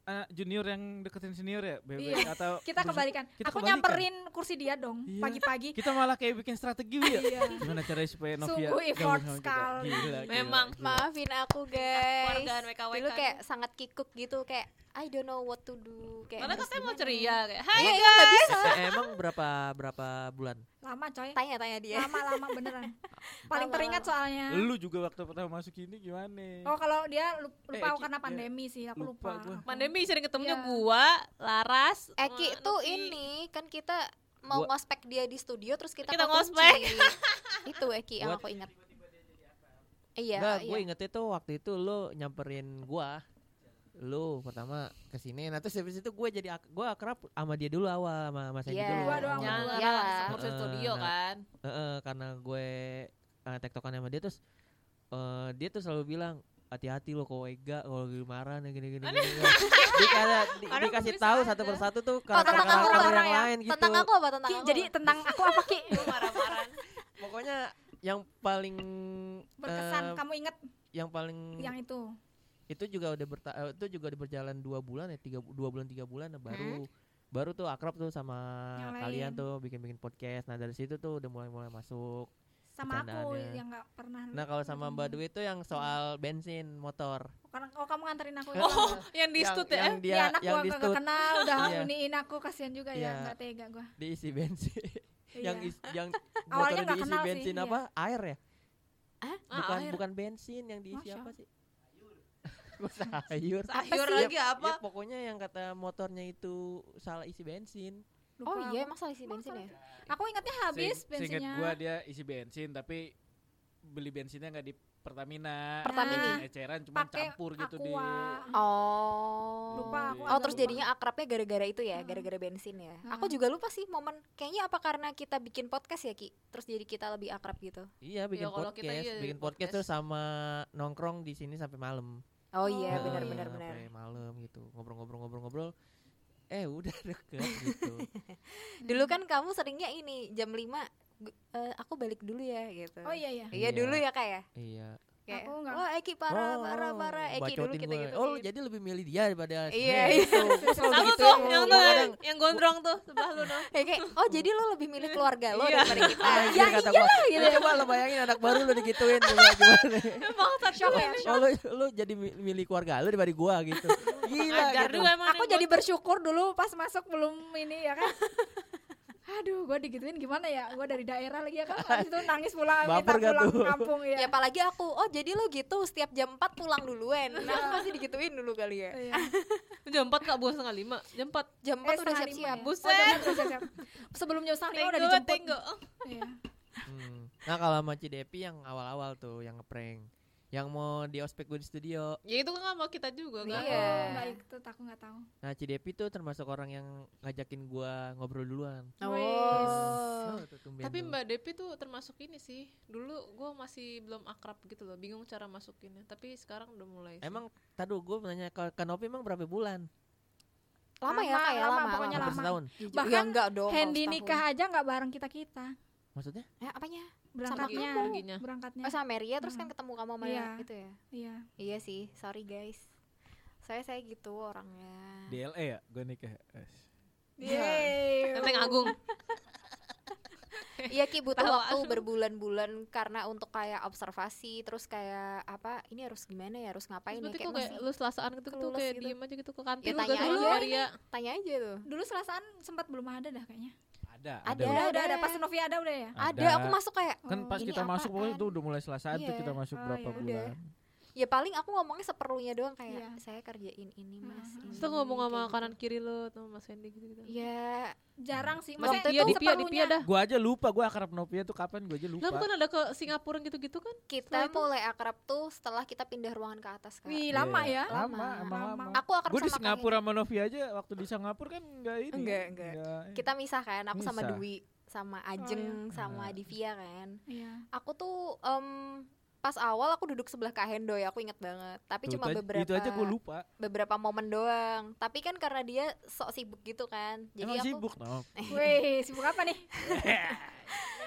Speaker 5: anak junior yang deketin senior ya bebek
Speaker 4: Iya.
Speaker 5: atau
Speaker 4: <laughs> kita
Speaker 5: bersama-
Speaker 4: kebalikan.
Speaker 5: kita
Speaker 4: aku
Speaker 5: kebalikan.
Speaker 4: nyamperin kursi dia dong
Speaker 5: Iya.
Speaker 4: pagi-pagi.
Speaker 5: kita malah kayak bikin strategi ya
Speaker 4: Iya.
Speaker 5: gimana caranya supaya Novia
Speaker 4: Sungguh
Speaker 5: gabung
Speaker 4: effort
Speaker 5: sama kita?
Speaker 4: sekali.
Speaker 5: Gila, gila,
Speaker 1: Memang.
Speaker 5: gila.
Speaker 2: Maafin aku, guys.
Speaker 1: keluargaan WKWK.
Speaker 2: Dulu kayak sangat kikuk gitu kayak I don't know what to do kayak.
Speaker 1: Padahal katanya
Speaker 2: harus
Speaker 1: kan mau
Speaker 2: gimana.
Speaker 1: ceria kayak hai
Speaker 2: Iya, iya,
Speaker 1: guys
Speaker 2: nggak bisa.
Speaker 3: Eh, emang berapa berapa bulan?
Speaker 4: Lama coy.
Speaker 2: Tanya-tanya dia.
Speaker 4: Lama-lama beneran. Paling
Speaker 2: Lama-lama.
Speaker 4: teringat soalnya.
Speaker 5: lu juga waktu pertama masuk ini gimana
Speaker 4: Oh kalau dia lu-
Speaker 5: Eh,
Speaker 4: lupa
Speaker 5: Eki,
Speaker 4: karena
Speaker 5: ya.
Speaker 4: pandemi sih, aku
Speaker 5: Lupa
Speaker 4: lupa.
Speaker 5: gua.
Speaker 1: pandemi sering ketemunya
Speaker 4: Iya.
Speaker 1: gua Laras
Speaker 2: <laughs> Eki
Speaker 1: sama
Speaker 2: tuh
Speaker 1: Novi.
Speaker 2: ini kan kita mau
Speaker 5: Gua-
Speaker 2: ngospek dia di studio terus kita,
Speaker 1: Kita
Speaker 2: kekunci.
Speaker 1: ngospek.
Speaker 2: <laughs> itu Eki yang aku
Speaker 3: Buat-
Speaker 2: ingat iya
Speaker 3: Enggak, gue
Speaker 2: iya
Speaker 3: ingetnya tuh waktu itu lu nyamperin gua. Lu pertama ke sini, nah terus habis itu gue jadi ak- gua akrab sama dia dulu awal sama Mas Egi
Speaker 2: Iya.
Speaker 3: dulu.
Speaker 4: Gua doang.
Speaker 1: Jangan
Speaker 2: Iya
Speaker 1: Laras,
Speaker 2: lah.
Speaker 1: ngurusin
Speaker 3: Eh,
Speaker 1: studio
Speaker 3: nah.
Speaker 1: kan
Speaker 3: Heeh, karena gue eh, tektokan sama dia terus eh, dia tuh selalu bilang hati-hati lo kalau Ega kalau lagi marah nih gini gini, gini, gini." Di- karena di-
Speaker 1: Orang
Speaker 3: dikasih
Speaker 1: bisa
Speaker 3: tahu
Speaker 1: aja.
Speaker 3: satu persatu tuh
Speaker 2: tentang
Speaker 3: karakter
Speaker 2: aku
Speaker 3: karakter
Speaker 4: marah
Speaker 3: yang
Speaker 4: ya.
Speaker 3: lain gitu
Speaker 2: tentang aku apa tentang
Speaker 4: Ki,
Speaker 2: aku
Speaker 4: jadi tentang aku apa Ki?
Speaker 1: Gua marah-marah
Speaker 3: pokoknya yang paling
Speaker 4: Berkesan
Speaker 3: eh, hmm.
Speaker 4: kamu inget
Speaker 3: yang paling
Speaker 4: yang itu.
Speaker 3: itu juga udah berta- eh, itu juga udah berjalan dua bulan ya tiga dua bulan tiga bulan nah, baru baru tuh akrab tuh sama
Speaker 4: Hmm. Yang lain.
Speaker 3: kalian tuh bikin bikin podcast nah dari situ tuh udah mulai mulai masuk
Speaker 4: Sama aku
Speaker 3: Bercandaannya.
Speaker 4: yang nggak pernah. lu-
Speaker 3: nah kalau sama
Speaker 4: ketemu.
Speaker 3: mbak Dwi itu yang
Speaker 4: Hmm.
Speaker 3: soal bensin motor
Speaker 4: Karena oh kamu nganterin aku.
Speaker 2: Iya.
Speaker 1: oh <laughs> yang di
Speaker 3: Yang-
Speaker 1: stud
Speaker 3: yang
Speaker 1: ya
Speaker 3: dia
Speaker 4: Ini anak
Speaker 3: Iya, yang
Speaker 4: gua
Speaker 3: di
Speaker 4: nggak
Speaker 3: stut
Speaker 4: kenal udah
Speaker 3: Iya.
Speaker 4: uniin aku kasihan juga
Speaker 3: Iya.
Speaker 4: ya nggak tega gua.
Speaker 3: diisi bensin yang
Speaker 4: Iya.
Speaker 3: is, yang
Speaker 4: <laughs> Awalnya
Speaker 3: motor
Speaker 4: nggak
Speaker 3: diisi
Speaker 4: kenal sih,
Speaker 3: bensin
Speaker 4: iya.
Speaker 3: apa air ya
Speaker 1: Ah,
Speaker 3: bukan
Speaker 1: air.
Speaker 3: bukan bensin yang diisi
Speaker 4: Masya.
Speaker 3: apa sih <laughs> Kok sayur
Speaker 1: sayur
Speaker 3: sih?
Speaker 1: lagi apa
Speaker 3: ya pokoknya yang kata motornya itu salah isi bensin
Speaker 4: Lupa
Speaker 2: oh iya
Speaker 4: aku.
Speaker 2: emang salah isi bensin ya
Speaker 4: Aku ingatnya habis
Speaker 5: Seinget
Speaker 4: bensinnya.
Speaker 5: gua dia isi bensin tapi beli bensinnya nggak di Pertamina
Speaker 2: Pertamina.
Speaker 5: Bensin eceran cuma
Speaker 4: Pakai
Speaker 5: campur gitu di
Speaker 4: aqua.
Speaker 2: oh
Speaker 4: Lupa aku.
Speaker 2: Oh
Speaker 4: agak
Speaker 2: terus
Speaker 4: lupa. Hmm.
Speaker 2: jadinya akrabnya gara-gara itu ya, gara-gara bensin ya. Aku juga lupa sih momen kayaknya apa karena kita bikin podcast ya Ki, terus jadi kita lebih akrab gitu.
Speaker 3: Iya bikin
Speaker 1: kalau
Speaker 3: podcast,
Speaker 1: kita iya
Speaker 3: bikin
Speaker 1: bikin
Speaker 3: podcast
Speaker 1: podcast.
Speaker 3: terus sama nongkrong di sini sampai malam.
Speaker 2: Oh iya
Speaker 3: Heeh,
Speaker 2: benar-benar benar.
Speaker 3: Sampai malam gitu, ngobrol-ngobrol-ngobrol-ngobrol. Eh udah <laughs> deket gitu.
Speaker 2: Dulu kan kamu seringnya ini jam 5 gu- eh, aku balik dulu ya gitu.
Speaker 4: Oh iya iya.
Speaker 2: Iya
Speaker 3: Iya.
Speaker 2: dulu ya kak ya.
Speaker 3: iya. Oh,
Speaker 2: Kayak,
Speaker 4: Aku nggak.
Speaker 2: Wah Eki parah, parah, parah. Eki dulu
Speaker 3: bacotin
Speaker 2: kita
Speaker 3: gua.
Speaker 2: gitu.
Speaker 3: Oh, lu jadi lebih milih dia daripada si
Speaker 2: Iya, iya.
Speaker 3: Mel. Itu, itu selalu
Speaker 1: Sama
Speaker 3: gitu
Speaker 1: tuh
Speaker 3: ya,
Speaker 1: yang
Speaker 3: gua
Speaker 1: tuh
Speaker 3: kadang,
Speaker 1: yang gondrong tuh sebelah lu
Speaker 2: <laughs>
Speaker 1: noh.
Speaker 2: Kayak, kayak, oh jadi lo lebih milih keluarga lo
Speaker 1: Iya.
Speaker 2: daripada kita.
Speaker 3: <laughs> "Ah, anjir," kata gua.
Speaker 2: gitu.
Speaker 3: Lu Coba lo bayangin anak baru lu digituin lu
Speaker 2: <laughs>
Speaker 3: bilang gimana.
Speaker 1: Emang satu
Speaker 2: Shock ya,
Speaker 3: Oh, lu, lu jadi mi- milih keluarga lu daripada gua
Speaker 2: <laughs>
Speaker 3: gitu. Gila
Speaker 1: Ajar
Speaker 3: gitu.
Speaker 1: juga emang.
Speaker 4: aku
Speaker 1: yang
Speaker 4: jadi
Speaker 1: gondrong.
Speaker 4: bersyukur dulu pas masuk belum ini ya kan <laughs> aduh gue digituin gimana ya gue dari daerah lagi ya kan habis itu nangis pulang minta
Speaker 3: Baper gak
Speaker 4: pulang
Speaker 3: tuh?
Speaker 4: kampung ya,
Speaker 2: Ya apalagi aku, oh jadi lo gitu setiap jam 4 pulang duluan. Nah, aku pasti digituin dulu kali ya.
Speaker 4: Iya.
Speaker 1: jam 4 Kak, bukan setengah 5. Jam 4.
Speaker 2: Jam 4
Speaker 4: Eh,
Speaker 2: udah
Speaker 4: setengah
Speaker 2: siap-siap.
Speaker 4: lima ya.
Speaker 1: Buset.
Speaker 4: Oh, jam empat udah siap-siap. sebelum jam setengah lima udah
Speaker 1: Tenggo,
Speaker 4: dijemput
Speaker 1: tenggo.
Speaker 4: Iya.
Speaker 3: Hmm. Nah, kalau sama Cidepi yang awal-awal tuh yang ngeprank. Yang mau di ospek gue di studio.
Speaker 1: Ya itu kan sama kita juga kan.
Speaker 2: Iya.
Speaker 4: nggak ikut aku nggak tahu
Speaker 3: Nah, Cidepi tuh termasuk orang yang ngajakin gua ngobrol duluan.
Speaker 2: Oh.
Speaker 3: Oh, tuh tumben
Speaker 1: Tapi
Speaker 3: tuh.
Speaker 1: Mbak Depi tuh termasuk ini sih. Dulu gue masih belum akrab gitu loh, bingung cara masukinnya. Tapi sekarang udah mulai. sih.
Speaker 3: Emang tadu gue nanya ke Kanopi emang berapa bulan?
Speaker 2: Lama ya,
Speaker 4: Lama,
Speaker 2: Kak, ya
Speaker 4: lama,
Speaker 2: lama.
Speaker 4: pokoknya
Speaker 3: Hampir
Speaker 4: lama.
Speaker 3: setahun.
Speaker 2: Bahkan
Speaker 5: Ya
Speaker 4: Bahkan
Speaker 2: enggak dong. kalau
Speaker 4: Handy
Speaker 2: setahun.
Speaker 4: nikah aja nggak bareng kita kita
Speaker 3: Maksudnya?
Speaker 2: Eh, apanya?
Speaker 4: berangkatnya
Speaker 1: kamu perginya.
Speaker 4: berangkatnya
Speaker 2: Oh sama Mary ya, terus kan
Speaker 4: Hmm.
Speaker 2: ketemu kamu sama
Speaker 4: Iya.
Speaker 2: gitu ya.
Speaker 4: iya
Speaker 2: Iya sih, sorry guys. Saya saya gitu orangnya.
Speaker 5: DLE ya gue nikah
Speaker 4: Iya. Yeay.
Speaker 1: Tenteng Agung.
Speaker 2: Iya Ki butuh
Speaker 1: Tawa.
Speaker 2: waktu berbulan-bulan karena untuk kayak observasi terus kayak apa ini harus gimana ya harus ngapain
Speaker 1: Berarti kok
Speaker 2: ya kayak
Speaker 1: kayak
Speaker 2: masih
Speaker 1: lu selasaan gitu tuh
Speaker 2: kelulus
Speaker 1: kayak
Speaker 2: gitu.
Speaker 1: diem aja gitu ke kantin
Speaker 2: Ya,
Speaker 1: lu
Speaker 2: tanya
Speaker 1: gak tahu
Speaker 2: aja. Hmm,
Speaker 1: Maria.
Speaker 2: tanya aja tuh.
Speaker 4: dulu selasaan sempat belum ada dah kayaknya
Speaker 5: ada
Speaker 2: Ada.
Speaker 5: udah.
Speaker 4: udah
Speaker 2: ada.
Speaker 4: udah ada pas Novi ada udah ya
Speaker 2: Ada. aku masuk kayak
Speaker 5: kan
Speaker 4: Oh,
Speaker 5: pas
Speaker 2: ini
Speaker 5: kita masuk pokoknya
Speaker 2: apaan?
Speaker 5: itu udah mulai selasa tuh
Speaker 2: Iya.
Speaker 5: kita masuk
Speaker 4: Oh,
Speaker 5: berapa
Speaker 4: ya udah.
Speaker 5: bulan
Speaker 2: ya paling aku ngomongnya seperlunya doang kayak
Speaker 4: Iya.
Speaker 2: saya kerjain ini Mas.
Speaker 4: Mm-mm.
Speaker 1: Terus
Speaker 2: ini,
Speaker 1: lu ngomong sama
Speaker 2: kayak gitu.
Speaker 1: kanan kiri lu sama Mas Hendy gitu-gitu.
Speaker 2: Ya,
Speaker 4: jarang sih
Speaker 1: Mas
Speaker 4: maksudnya
Speaker 2: Waktu
Speaker 1: Dia
Speaker 2: itu
Speaker 1: di Pia, di Pia dah.
Speaker 5: gue aja lupa gue akrab Novia tuh kapan gue aja
Speaker 1: Lah
Speaker 5: lupa
Speaker 1: bukan kan ada ke Singapura gitu-gitu kan? Setelah
Speaker 2: kita
Speaker 1: itu-
Speaker 2: mulai akrab tuh setelah kita pindah ruangan ke atas kan.
Speaker 4: wih lama
Speaker 5: Iya,
Speaker 4: ya
Speaker 5: lama emang
Speaker 4: Lama.
Speaker 5: lama
Speaker 2: Aku akrab
Speaker 5: gue di
Speaker 2: sama Kak
Speaker 5: Singapura sama Novia aja waktu di Singapura kan nggak ini
Speaker 2: Enggak, enggak. kita misah kan aku sama
Speaker 5: Misah.
Speaker 2: Dwi sama
Speaker 1: Oh,
Speaker 2: Ajeng
Speaker 1: iya.
Speaker 2: sama
Speaker 5: Ah.
Speaker 2: Divya kan
Speaker 4: iya
Speaker 2: aku tuh em, pas awal aku duduk sebelah Kak Hendoy aku inget banget tapi
Speaker 5: Tuh,
Speaker 2: cuma
Speaker 5: itu aja-
Speaker 2: beberapa
Speaker 5: itu aja gue lupa
Speaker 2: beberapa momen doang tapi kan karena dia sok sibuk gitu kan jadi
Speaker 5: emang
Speaker 2: aku
Speaker 5: sibuk Nov
Speaker 4: Wih, sibuk apa nih?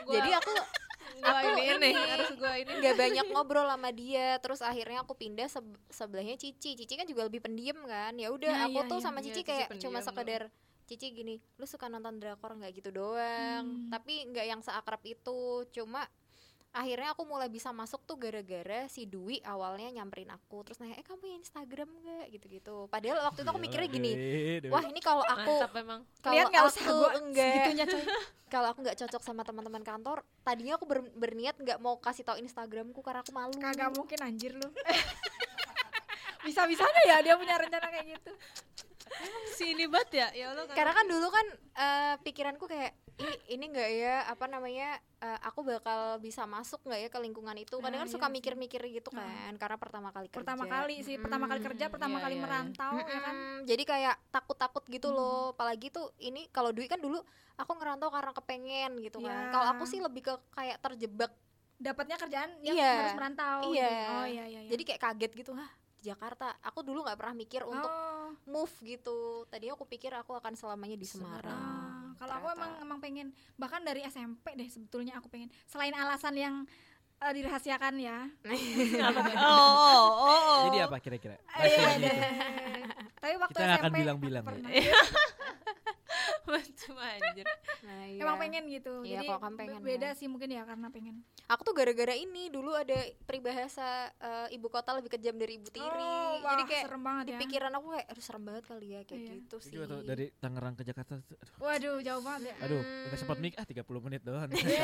Speaker 1: Gua-
Speaker 2: jadi aku
Speaker 1: gua
Speaker 2: aku
Speaker 1: ini, nih,
Speaker 2: ini.
Speaker 1: <laughs> harus gua ini.
Speaker 2: nggak banyak ngobrol sama dia terus akhirnya aku pindah seb- sebelahnya Cici Cici kan juga lebih pendiem kan ya
Speaker 4: Ya,
Speaker 2: udah aku
Speaker 4: ya,
Speaker 2: tuh
Speaker 4: ya.
Speaker 2: sama
Speaker 1: Iya,
Speaker 2: Cici
Speaker 1: Cici
Speaker 2: kayak
Speaker 1: pendiam
Speaker 2: cuma
Speaker 1: loh.
Speaker 2: sekedar Cici gini lu suka nonton drakor nggak gitu doang
Speaker 4: Hmm.
Speaker 2: tapi nggak yang seakrab itu cuma akhirnya aku mulai bisa masuk tuh gara-gara si Dwi awalnya nyamperin aku terus nanya eh kamu punya Instagram nggak gitu-gitu padahal waktu itu aku
Speaker 5: Iya,
Speaker 2: mikirnya gini wah ini kalau aku
Speaker 1: Mantap emang.
Speaker 2: kalau
Speaker 4: Lihat nggak
Speaker 2: aku
Speaker 4: usah gua
Speaker 2: enggak
Speaker 4: segitunya coy.
Speaker 2: kalau aku nggak cocok sama teman-teman kantor tadinya aku ber- berniat nggak mau kasih tahu Instagramku karena aku malu
Speaker 4: Kagak mungkin anjir <laughs> lu. Bisa-bisa deh ya dia punya rencana kayak gitu.
Speaker 1: Si ini banget ya. Ya Allah.
Speaker 2: karena kan dulu kan eh, pikiranku kayak ini ini nggak ya apa namanya eh, aku bakal bisa masuk nggak ya ke lingkungan itu kadang
Speaker 4: Nah,
Speaker 2: kan suka
Speaker 4: iya sih.
Speaker 2: mikir-mikir gitu
Speaker 4: Nah.
Speaker 2: kan karena pertama kali kerja
Speaker 4: Pertama kali sih, pertama kali
Speaker 2: Hmm,
Speaker 4: kerja,
Speaker 1: Mm,
Speaker 4: pertama
Speaker 1: iya,
Speaker 4: kali
Speaker 1: iya, iya.
Speaker 4: merantau ya kan.
Speaker 2: Mm-mm. jadi kayak takut-takut gitu
Speaker 4: Mm.
Speaker 2: loh apalagi tuh ini kalau Dwi kan dulu aku ngerantau karena kepengen gitu kan
Speaker 4: Ya.
Speaker 2: kalau aku sih lebih ke kayak terjebak
Speaker 4: Dapatnya kerjaan yang
Speaker 2: Iya.
Speaker 4: harus merantau. gitu.
Speaker 2: Iya.
Speaker 4: Oh iya iya iya.
Speaker 2: jadi kayak kaget gitu hah di Jakarta aku dulu nggak pernah mikir untuk
Speaker 4: oh.
Speaker 2: move gitu. Tadinya aku pikir aku akan selamanya di Semarang.
Speaker 4: ah, kalau aku
Speaker 2: ternyata.
Speaker 4: emang emang pengen bahkan dari SMP deh sebetulnya aku pengen selain alasan yang eh, dirahasiakan ya.
Speaker 1: <laughs> Oh, oh, oh, oh.
Speaker 5: jadi
Speaker 1: <laughs>
Speaker 5: apa kira-kira
Speaker 4: Iya,
Speaker 5: Masih
Speaker 4: deh.
Speaker 5: gitu.
Speaker 4: Tapi waktu
Speaker 5: Kita nggak akan
Speaker 4: SMP
Speaker 5: bilang-bilang ya.
Speaker 4: pernah.
Speaker 2: Iya.
Speaker 1: Cuma anjir.
Speaker 2: Nah, iya.
Speaker 4: Emang pengen gitu.
Speaker 2: Iya,
Speaker 4: Jadi
Speaker 2: kalau kamu pengen
Speaker 4: be- beda
Speaker 2: ya.
Speaker 4: sih mungkin ya karena pengen.
Speaker 2: Aku tuh gara-gara ini dulu ada peribahasa eh, ibu kota lebih kejam dari ibu tiri.
Speaker 4: Oh,
Speaker 2: Jadi
Speaker 4: wah,
Speaker 2: kayak
Speaker 4: serem banget
Speaker 2: di
Speaker 4: ya.
Speaker 2: pikiran aku kayak aduh serem banget kali ya kayak
Speaker 4: Iya.
Speaker 2: gitu
Speaker 5: Itu
Speaker 2: sih.
Speaker 5: juga tuh dari Tangerang ke Jakarta tuh, aduh
Speaker 4: Waduh, jauh banget ya.
Speaker 5: aduh
Speaker 2: Hmm.
Speaker 5: nggak sempat mik ah 30 menit doang
Speaker 1: Iya.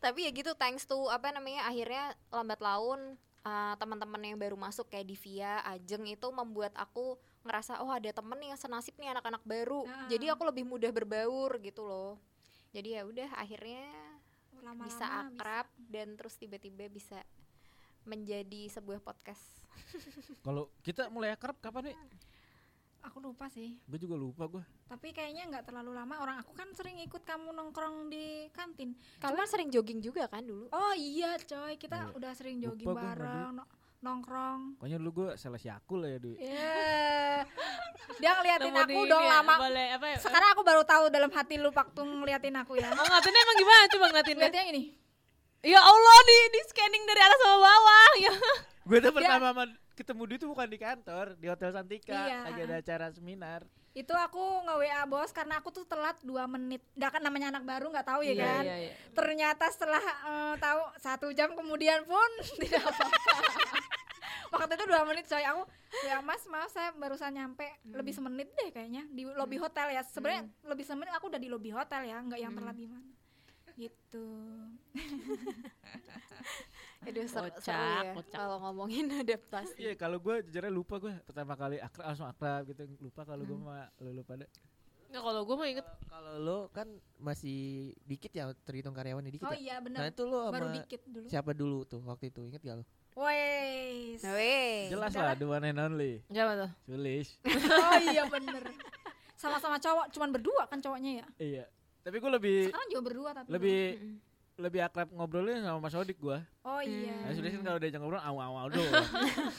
Speaker 2: Tapi ya gitu thanks to apa namanya akhirnya lambat laun eh, teman-teman yang baru masuk kayak Divia, Ajeng itu membuat aku ngerasa oh ada temen yang senasib nih anak-anak baru.
Speaker 4: Ah.
Speaker 2: Jadi aku lebih mudah berbaur gitu loh. Jadi ya udah akhirnya
Speaker 4: Lama-lama
Speaker 2: bisa akrab dan terus tiba-tiba bisa menjadi sebuah podcast.
Speaker 5: kalau kita mulai akrab kapan nih
Speaker 4: Aku lupa sih.
Speaker 5: gue juga lupa gue
Speaker 4: Tapi kayaknya nggak terlalu lama. Orang aku kan sering ikut kamu nongkrong di kantin.
Speaker 2: Kalian sering jogging juga kan dulu?
Speaker 4: Oh iya, coy. Kita
Speaker 5: Iya.
Speaker 4: udah sering jogging
Speaker 5: Lupa gua sama
Speaker 4: bareng, no- nongkrong.
Speaker 5: pokoknya dulu gue sales yakul ya dulu
Speaker 4: Iya. Dia ngeliatin
Speaker 1: Nemu
Speaker 4: aku
Speaker 1: di
Speaker 4: dong
Speaker 1: ini ya,
Speaker 4: lama.
Speaker 1: Boleh apa ya?
Speaker 4: Sekarang aku baru tahu dalam hati lu waktu ngeliatin aku ya.
Speaker 1: Oh, ngeliatinnya emang gimana? Coba ngeliatin. deh.
Speaker 4: Ngeliatinnya gini.
Speaker 1: Ya Allah di di scanning dari atas sama bawah <laughs> ya.
Speaker 5: Gue
Speaker 4: Iya.
Speaker 5: tuh pertama man- ketemu dia tuh bukan di kantor, di Hotel Santika,
Speaker 4: Iya.
Speaker 5: lagi ada acara seminar.
Speaker 4: Itu aku nge-WA bos karena aku tuh telat 2 menit. Enggak kan namanya anak baru nggak tahu ya
Speaker 1: Iya,
Speaker 4: kan.
Speaker 1: iya, iya.
Speaker 4: Ternyata setelah eh, tahu satu jam kemudian pun <laughs> tidak apa-apa. Waktu itu dua menit coy aku ya mas maaf saya barusan nyampe
Speaker 5: Hmm.
Speaker 4: lebih semenit deh kayaknya di lobby hotel ya sebenarnya lebih semenit aku udah di lobby hotel ya nggak
Speaker 5: Hmm.
Speaker 4: yang telat gimana gitu
Speaker 2: Aduh seru,
Speaker 1: Kocak,
Speaker 2: seru ya
Speaker 1: kocak.
Speaker 2: kalau ngomongin <laughs> adaptasi.
Speaker 5: Iya, kalau gue jujurnya lupa gue pertama kali akrab langsung akrab gitu. Lupa kalau
Speaker 4: Hmm.
Speaker 5: gue sama lu pada.
Speaker 1: Nah, kalau gue mau inget
Speaker 3: Kalau lo kan masih dikit ya terhitung karyawannya dikit
Speaker 4: oh
Speaker 3: ya.
Speaker 4: iya
Speaker 3: Nah
Speaker 4: benar
Speaker 3: itu lo
Speaker 4: baru
Speaker 3: sama
Speaker 4: dikit dulu
Speaker 3: siapa dulu tuh waktu itu inget gak lo?
Speaker 4: woi
Speaker 5: Nah.
Speaker 4: Eh,
Speaker 2: Weh.
Speaker 5: Jelas lah, the one and only.
Speaker 1: Siapa tuh?
Speaker 5: Sulis.
Speaker 4: <laughs> oh iya bener sama-sama cowok cuman berdua kan cowoknya ya
Speaker 5: iya. Tapi gue lebih
Speaker 4: sekarang juga berdua tapi
Speaker 5: lebih
Speaker 2: Mm-mm.
Speaker 5: lebih akrab ngobrolnya sama Mas Odik gue.
Speaker 4: oh iya
Speaker 5: Nah, Sulis kan kalau diajak ngobrol awal-awal
Speaker 4: <laughs>
Speaker 5: doang.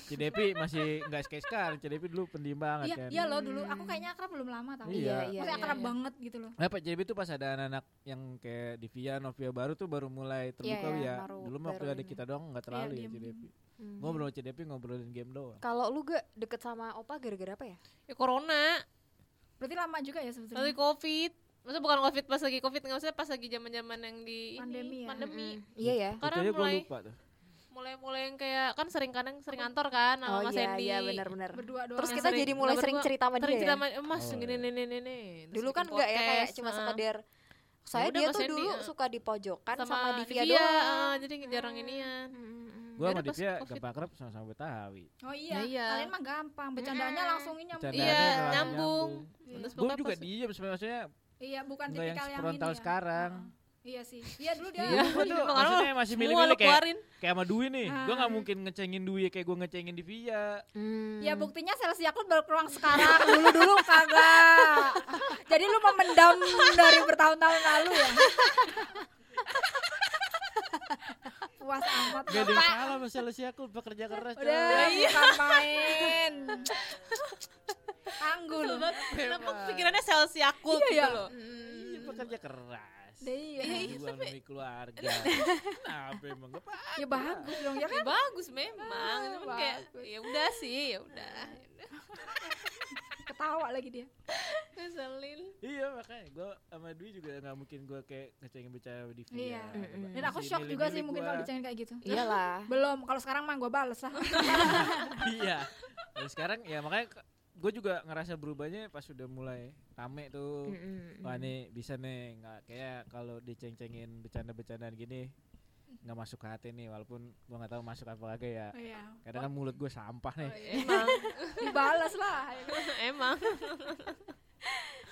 Speaker 5: Cidepi masih nggak skeskan. Cidepi dulu pendiam
Speaker 3: Hmm.
Speaker 5: banget
Speaker 4: iya
Speaker 5: kan.
Speaker 4: iya loh dulu aku kayaknya akrab belum lama tau
Speaker 5: Iya.
Speaker 4: Maksudnya akrab banget gitu loh
Speaker 5: Nah, Pak JB tuh pas ada anak-anak yang kayak Divia, Novia baru tuh baru mulai terbuka
Speaker 2: iya,
Speaker 5: ya.
Speaker 2: baru-
Speaker 5: Dulu mah waktu
Speaker 2: baru
Speaker 5: ada
Speaker 2: ini.
Speaker 5: kita doang
Speaker 1: Iya,
Speaker 5: nggak terlalu ya
Speaker 4: diem-diem.
Speaker 5: JDP.
Speaker 2: Mm.
Speaker 5: Ngobrol JDP ngobrolin game doang.
Speaker 2: Kalau lu gak deket sama opa gara-gara apa ya?
Speaker 1: Ya corona,
Speaker 4: berarti lama juga ya
Speaker 1: lagi
Speaker 4: sebetulnya
Speaker 1: covid. Maksudnya bukan covid pas lagi covid nggak maksudnya pas lagi zaman-zaman yang di ini,
Speaker 4: Pandemi ya.
Speaker 1: pandemi. Hmm.
Speaker 2: Mm-mm. Iya ya.
Speaker 1: Karena
Speaker 5: Itu aja gua
Speaker 1: mulai
Speaker 5: lupa tuh.
Speaker 1: mulai-mulai yang kayak kan sering kadang sering kantor kan sama
Speaker 2: Oh
Speaker 1: Mas
Speaker 2: iya,
Speaker 1: Sandy.
Speaker 2: iya benar-benar.
Speaker 4: berdua doang ya?
Speaker 2: Terus
Speaker 1: Yang
Speaker 2: kita
Speaker 1: sering-
Speaker 2: jadi mulai
Speaker 1: kita
Speaker 2: sering
Speaker 1: berdua
Speaker 2: cerita sama
Speaker 1: Sering
Speaker 2: dia
Speaker 1: cerita
Speaker 2: ya?
Speaker 1: sama eh, Mas
Speaker 5: Oh,
Speaker 1: gini
Speaker 5: iya.
Speaker 1: nih nih nih nih. Terus
Speaker 2: Dulu
Speaker 1: bikin
Speaker 2: kan enggak ya kayak
Speaker 1: podcast,
Speaker 2: cuma
Speaker 1: ah.
Speaker 2: sekedar saya
Speaker 1: udah
Speaker 2: dia
Speaker 1: Mas
Speaker 2: tuh
Speaker 1: Sandy,
Speaker 2: dulu
Speaker 1: ah.
Speaker 2: suka di pojokan sama,
Speaker 1: Divya,
Speaker 2: Divya
Speaker 1: ah,
Speaker 2: doang. Hmm.
Speaker 1: jadi jarang inian.
Speaker 2: Mm-mm.
Speaker 5: Gua sama
Speaker 1: Yaudah, pas
Speaker 5: Divya
Speaker 1: Covid.
Speaker 5: gampang akrab sama-sama Betawi.
Speaker 4: oh iya.
Speaker 1: Ya iya.
Speaker 4: kalian mah gampang bercandanya langsung ini nyambung
Speaker 5: Bercandanya
Speaker 1: Iya,
Speaker 5: doang
Speaker 1: nyambung.
Speaker 4: Iya.
Speaker 1: Terus
Speaker 5: Gue
Speaker 1: pokoknya
Speaker 5: juga
Speaker 1: pas- Kan
Speaker 5: diem sebenarnya maksudnya
Speaker 4: iya bukan
Speaker 5: nggak yang
Speaker 4: tipikal yang, ini
Speaker 5: frontal
Speaker 4: ya.
Speaker 5: sekarang.
Speaker 4: Heeh. iya sih iya dulu dia
Speaker 1: Iya.
Speaker 5: Gua tuh
Speaker 1: Makanya
Speaker 5: maksudnya masih
Speaker 1: semua lu
Speaker 5: milih-milih kayak
Speaker 1: keluarin.
Speaker 5: kayak sama Dwi nih. Gua nggak
Speaker 4: Ah.
Speaker 5: mungkin ngecengin Dwi kayak gua ngecengin Divya.
Speaker 2: Hmm.
Speaker 4: Ya buktinya sel Yakult baru keluar sekarang dulu-dulu kagak. Jadi lu memendam dari bertahun-tahun lalu ya. Puas amat.
Speaker 5: Gak ada yang salah sama Celestia aku bekerja keras.
Speaker 4: Udah
Speaker 5: coy.
Speaker 1: Iya.
Speaker 4: bukan main. Tangguh
Speaker 2: <laughs>
Speaker 4: lu.
Speaker 1: Betul banget. Kenapa pikirannya sales Yakult
Speaker 4: Iya,
Speaker 1: gitu
Speaker 4: iya.
Speaker 1: loh.
Speaker 5: Iya, bekerja keras.
Speaker 4: Iya.
Speaker 5: Berjuang demi keluarga. Kenapa emang gak apa?
Speaker 4: Ya bagus dong ya kan.
Speaker 1: Bagus memang,
Speaker 2: Ah,
Speaker 1: cuman kayak ya udah sih, ya udah.
Speaker 4: Ketawa lagi dia.
Speaker 1: Ngeselin. <laughs>
Speaker 5: Iya makanya gue sama Dwi juga nggak mungkin gue kayak ngecengin bicara ya. di via.
Speaker 4: Iya.
Speaker 2: Mm-mm.
Speaker 4: Dan aku shock juga sih mungkin kalau dicengin kayak gitu.
Speaker 1: <laughs>
Speaker 2: Iyalah.
Speaker 4: Belum, kalau sekarang mah gue bales lah.
Speaker 5: <laughs> Iya. Dan sekarang ya makanya gue juga ngerasa berubahnya pas sudah mulai rame tuh.
Speaker 2: Hmm, Mm-mm.
Speaker 5: Wah nih bisa nih nggak kayak kalau diceng-cengin bercanda-bercandaan gini nggak masuk ke hati nih walaupun gue nggak tahu masuk apa kagak ya.
Speaker 4: Iya.
Speaker 5: Kadang kan mulut gue sampah
Speaker 4: Oh,
Speaker 5: nih.
Speaker 1: Emang,
Speaker 4: <laughs> Dibales lah.
Speaker 1: emang. <laughs>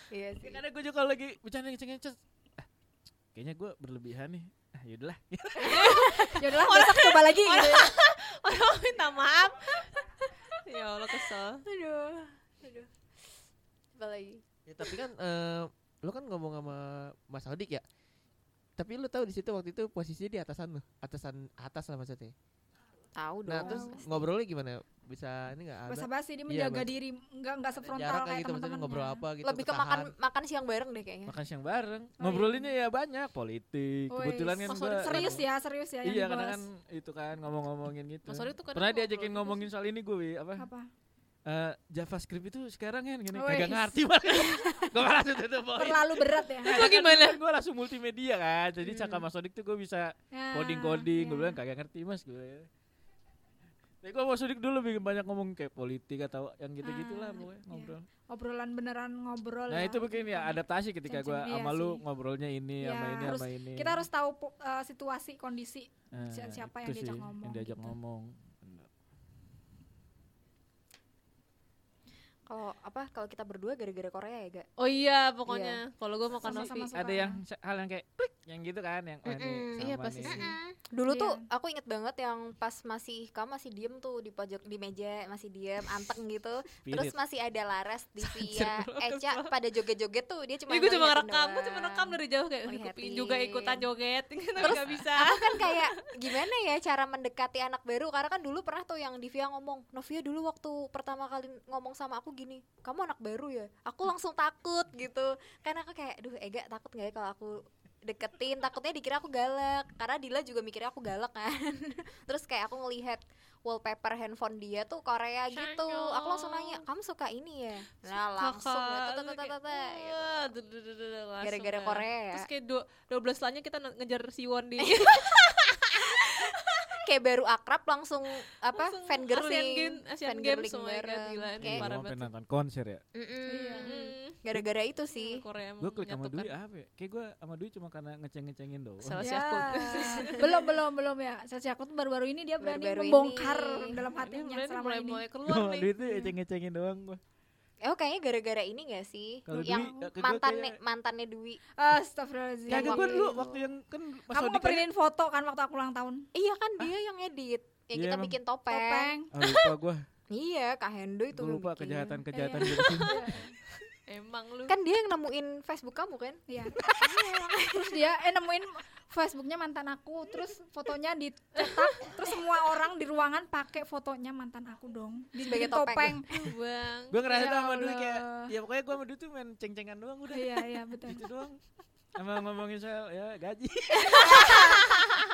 Speaker 2: Iya sih.
Speaker 5: Karena gue juga kalau lagi bercanda ngecengin cet. ah, Kayaknya gue berlebihan nih. Ah, yaudahlah.
Speaker 4: Yaudah lah, besok coba lagi. gitu ya.
Speaker 1: Orang minta maaf. <laughs> Ya Allah kesel.
Speaker 2: Aduh. Aduh. Apa lagi?
Speaker 3: Ya, tapi kan eh, lo kan ngomong sama Mas Odik ya. Tapi lo tahu di situ waktu itu posisinya di atasan lo, atasan atas lah maksudnya.
Speaker 2: Tahu dong.
Speaker 3: Nah terus ngobrolnya gimana? Bisa ini nggak?
Speaker 4: basa
Speaker 3: ada-
Speaker 4: basi dia
Speaker 3: Iya,
Speaker 4: menjaga
Speaker 3: bas-
Speaker 4: diri nggak nggak
Speaker 3: ada
Speaker 4: sefrontal
Speaker 3: jarak
Speaker 4: kayak
Speaker 3: gitu maksudnya
Speaker 4: teman-teman
Speaker 3: ngobrol apa gitu?
Speaker 2: lebih ke makan makan siang bareng deh
Speaker 4: Iya.
Speaker 2: kayaknya.
Speaker 5: Makan siang bareng.
Speaker 4: Oh,
Speaker 5: Ngobrolinnya ya banyak politik.
Speaker 4: Wih,
Speaker 5: Kebetulan kan
Speaker 1: Mas
Speaker 5: gua-
Speaker 1: Odik
Speaker 4: serius ya serius ya yang
Speaker 5: Iya,
Speaker 4: dibahas.
Speaker 5: kadang kan itu kan ngomong-ngomongin gitu.
Speaker 1: Mas Odik tuh kadang
Speaker 5: Pernah
Speaker 1: ngobrol
Speaker 5: diajakin
Speaker 1: gitu
Speaker 5: ngomongin soal ini gue, Wi, apa? <laughs>
Speaker 4: apa
Speaker 5: Eh, JavaScript itu sekarang kan gini,
Speaker 4: Wih.
Speaker 5: kagak ngerti <laughs> banget. gue langsung tutup poin.
Speaker 4: terlalu berat ya
Speaker 1: Itu gimana?
Speaker 5: Gue langsung multimedia kan. Jadi cakap Mas Odik tuh gue bisa
Speaker 4: Nah,
Speaker 5: coding-coding.
Speaker 4: Hmm.
Speaker 5: Gue
Speaker 4: iya.
Speaker 5: bilang kagak ngerti, Mas, gue. Tapi gue Mas Odik dulu lebih banyak ngomong kayak politik atau yang
Speaker 4: Ah,
Speaker 5: gitu-gitulah pokoknya
Speaker 4: iya.
Speaker 5: ngobrol.
Speaker 4: obrolan beneran ngobrol
Speaker 5: Nah
Speaker 4: ya.
Speaker 5: itu mungkin ya adaptasi ketika gue
Speaker 4: Ceng-ceng, iya
Speaker 5: sama
Speaker 4: sih.
Speaker 5: lu ngobrolnya ini
Speaker 4: Iya,
Speaker 5: sama ini
Speaker 4: harus-
Speaker 5: sama ini.
Speaker 4: kita harus tahu po- eh, situasi kondisi
Speaker 5: Eh,
Speaker 4: si- siapa yang
Speaker 5: itu
Speaker 4: diajak
Speaker 5: sih,
Speaker 4: ngomong
Speaker 5: Yang diajak
Speaker 4: gitu.
Speaker 5: ngomong.
Speaker 2: Kalau apa kalau kita berdua gara-gara Korea ya, Ga?
Speaker 1: Oh iya, pokoknya kalau gue makan
Speaker 4: Sama-sama
Speaker 1: nasi.
Speaker 4: suka.
Speaker 5: Ada yang se- hal yang kayak klik yang gitu kan yang oh, ini
Speaker 2: Mm-mm,
Speaker 5: sama
Speaker 1: iya, pasti
Speaker 5: nih.
Speaker 1: sih.
Speaker 2: Dulu
Speaker 4: Iya.
Speaker 2: tuh aku inget banget yang pas masih kamu masih diem tuh di pojok di meja, masih diem, anteng gitu. Terus
Speaker 5: Spirit.
Speaker 2: masih ada Laras,
Speaker 1: <laughs>
Speaker 2: Divya, Eca pada joget-joget tuh dia cuma
Speaker 1: Ini gue Iya, cuma
Speaker 2: ngeliatin
Speaker 1: ngerekam, gue
Speaker 2: doang.
Speaker 1: cuma rekam dari jauh kayak "Ih, gue pingin juga ikutan joget, <laughs> gitu nggak bisa.
Speaker 2: Aku kan kayak gimana ya cara mendekati anak baru karena kan dulu pernah tuh yang Divya ngomong, Novia dulu waktu pertama kali ngomong sama aku gini, Kan kamu anak baru ya. Aku langsung takut gitu. Karena aku kayak, duh Ega takut nggak ya kalau aku deketin takutnya dikira aku galak karena Dila juga mikirnya aku galak kan <laughs> terus kayak aku ngelihat wallpaper handphone dia tuh Korea gitu aku langsung nanya kamu suka ini ya nah langsung
Speaker 1: Kakak,
Speaker 2: tata,
Speaker 1: terus
Speaker 2: tata,
Speaker 1: kayak,
Speaker 2: tata, gitu.
Speaker 1: "Wah," duh, duh, duh, duh, duh, kan? Iya, langsung
Speaker 2: gara-gara
Speaker 1: dah.
Speaker 2: Korea ya
Speaker 1: terus kayak dua dua belas lanya kita nge- ngejar Siwon
Speaker 2: <laughs>
Speaker 1: di
Speaker 2: kayak baru akrab langsung apa
Speaker 1: langsung Asian
Speaker 2: fangirling
Speaker 1: Games Asian Games
Speaker 2: fangirling
Speaker 1: oh my god
Speaker 2: bareng.
Speaker 1: gila ini
Speaker 2: Kayak-
Speaker 1: parah
Speaker 5: Gua sampai
Speaker 1: banget
Speaker 5: nonton konser ya
Speaker 2: Mm-mm.
Speaker 4: Iya.
Speaker 1: Mm. Iya,
Speaker 2: gara-gara itu Hmm, sih
Speaker 1: Korea emang
Speaker 5: gue klik sama
Speaker 1: menyatukan.
Speaker 5: Dwi apa ya? kayak gue sama Dwi cuma karena ngeceng-ngecengin doang <laughs>
Speaker 1: Salah
Speaker 4: Ya.
Speaker 1: aku.
Speaker 4: <laughs> belum belum belum ya. Saya aku tuh baru-baru ini dia berani
Speaker 2: Baru-baru
Speaker 4: membongkar
Speaker 2: ini.
Speaker 4: dalam
Speaker 1: Ini
Speaker 4: hatinya
Speaker 1: berarti
Speaker 4: selama
Speaker 1: mulai
Speaker 4: ini.
Speaker 1: mulai keluar
Speaker 5: sama Dwi
Speaker 1: nih
Speaker 5: tuh ngeceng-ngecengin doang gue
Speaker 2: oh kayaknya gara-gara ini gak sih
Speaker 5: Kalau
Speaker 2: yang
Speaker 5: Dwi, ya, ke gua
Speaker 2: mantannya
Speaker 5: kayak-
Speaker 2: mantannya Dwi
Speaker 4: Astagfirullahaladzim.
Speaker 5: kagak
Speaker 2: waktu
Speaker 5: Ya, gue dulu
Speaker 2: itu.
Speaker 5: waktu yang kan pas
Speaker 4: Iya, Kamu
Speaker 5: Odi kan
Speaker 4: ngeprintin foto kan waktu aku ulang tahun.
Speaker 2: iya kan dia yang edit ya
Speaker 5: Iya,
Speaker 2: kita
Speaker 5: emang.
Speaker 2: bikin topeng,
Speaker 4: Topeng.
Speaker 5: ah lupa gue
Speaker 2: iya kak Hendo itu
Speaker 5: gue
Speaker 2: yang
Speaker 5: lupa
Speaker 2: bikin.
Speaker 5: kejahatan-kejahatan
Speaker 4: Iya.
Speaker 5: gitu
Speaker 4: <laughs>
Speaker 5: sih
Speaker 1: emang lu
Speaker 2: kan dia yang nemuin Facebook kamu kan
Speaker 4: Iya. terus dia eh nemuin Facebooknya mantan aku, terus fotonya dicetak, terus semua orang di ruangan pakai fotonya mantan aku dong. Di
Speaker 2: Sebagai
Speaker 4: sebagai
Speaker 2: topeng.
Speaker 4: topeng.
Speaker 1: bang
Speaker 5: gue ngerasa
Speaker 4: Ya
Speaker 5: tuh sama Dwi
Speaker 4: Allah.
Speaker 5: kayak ya pokoknya gue sama Dwi tuh main ceng-cengan doang udah
Speaker 4: Iya, iya betul.
Speaker 5: gitu doang sama ngomongin soal ya gaji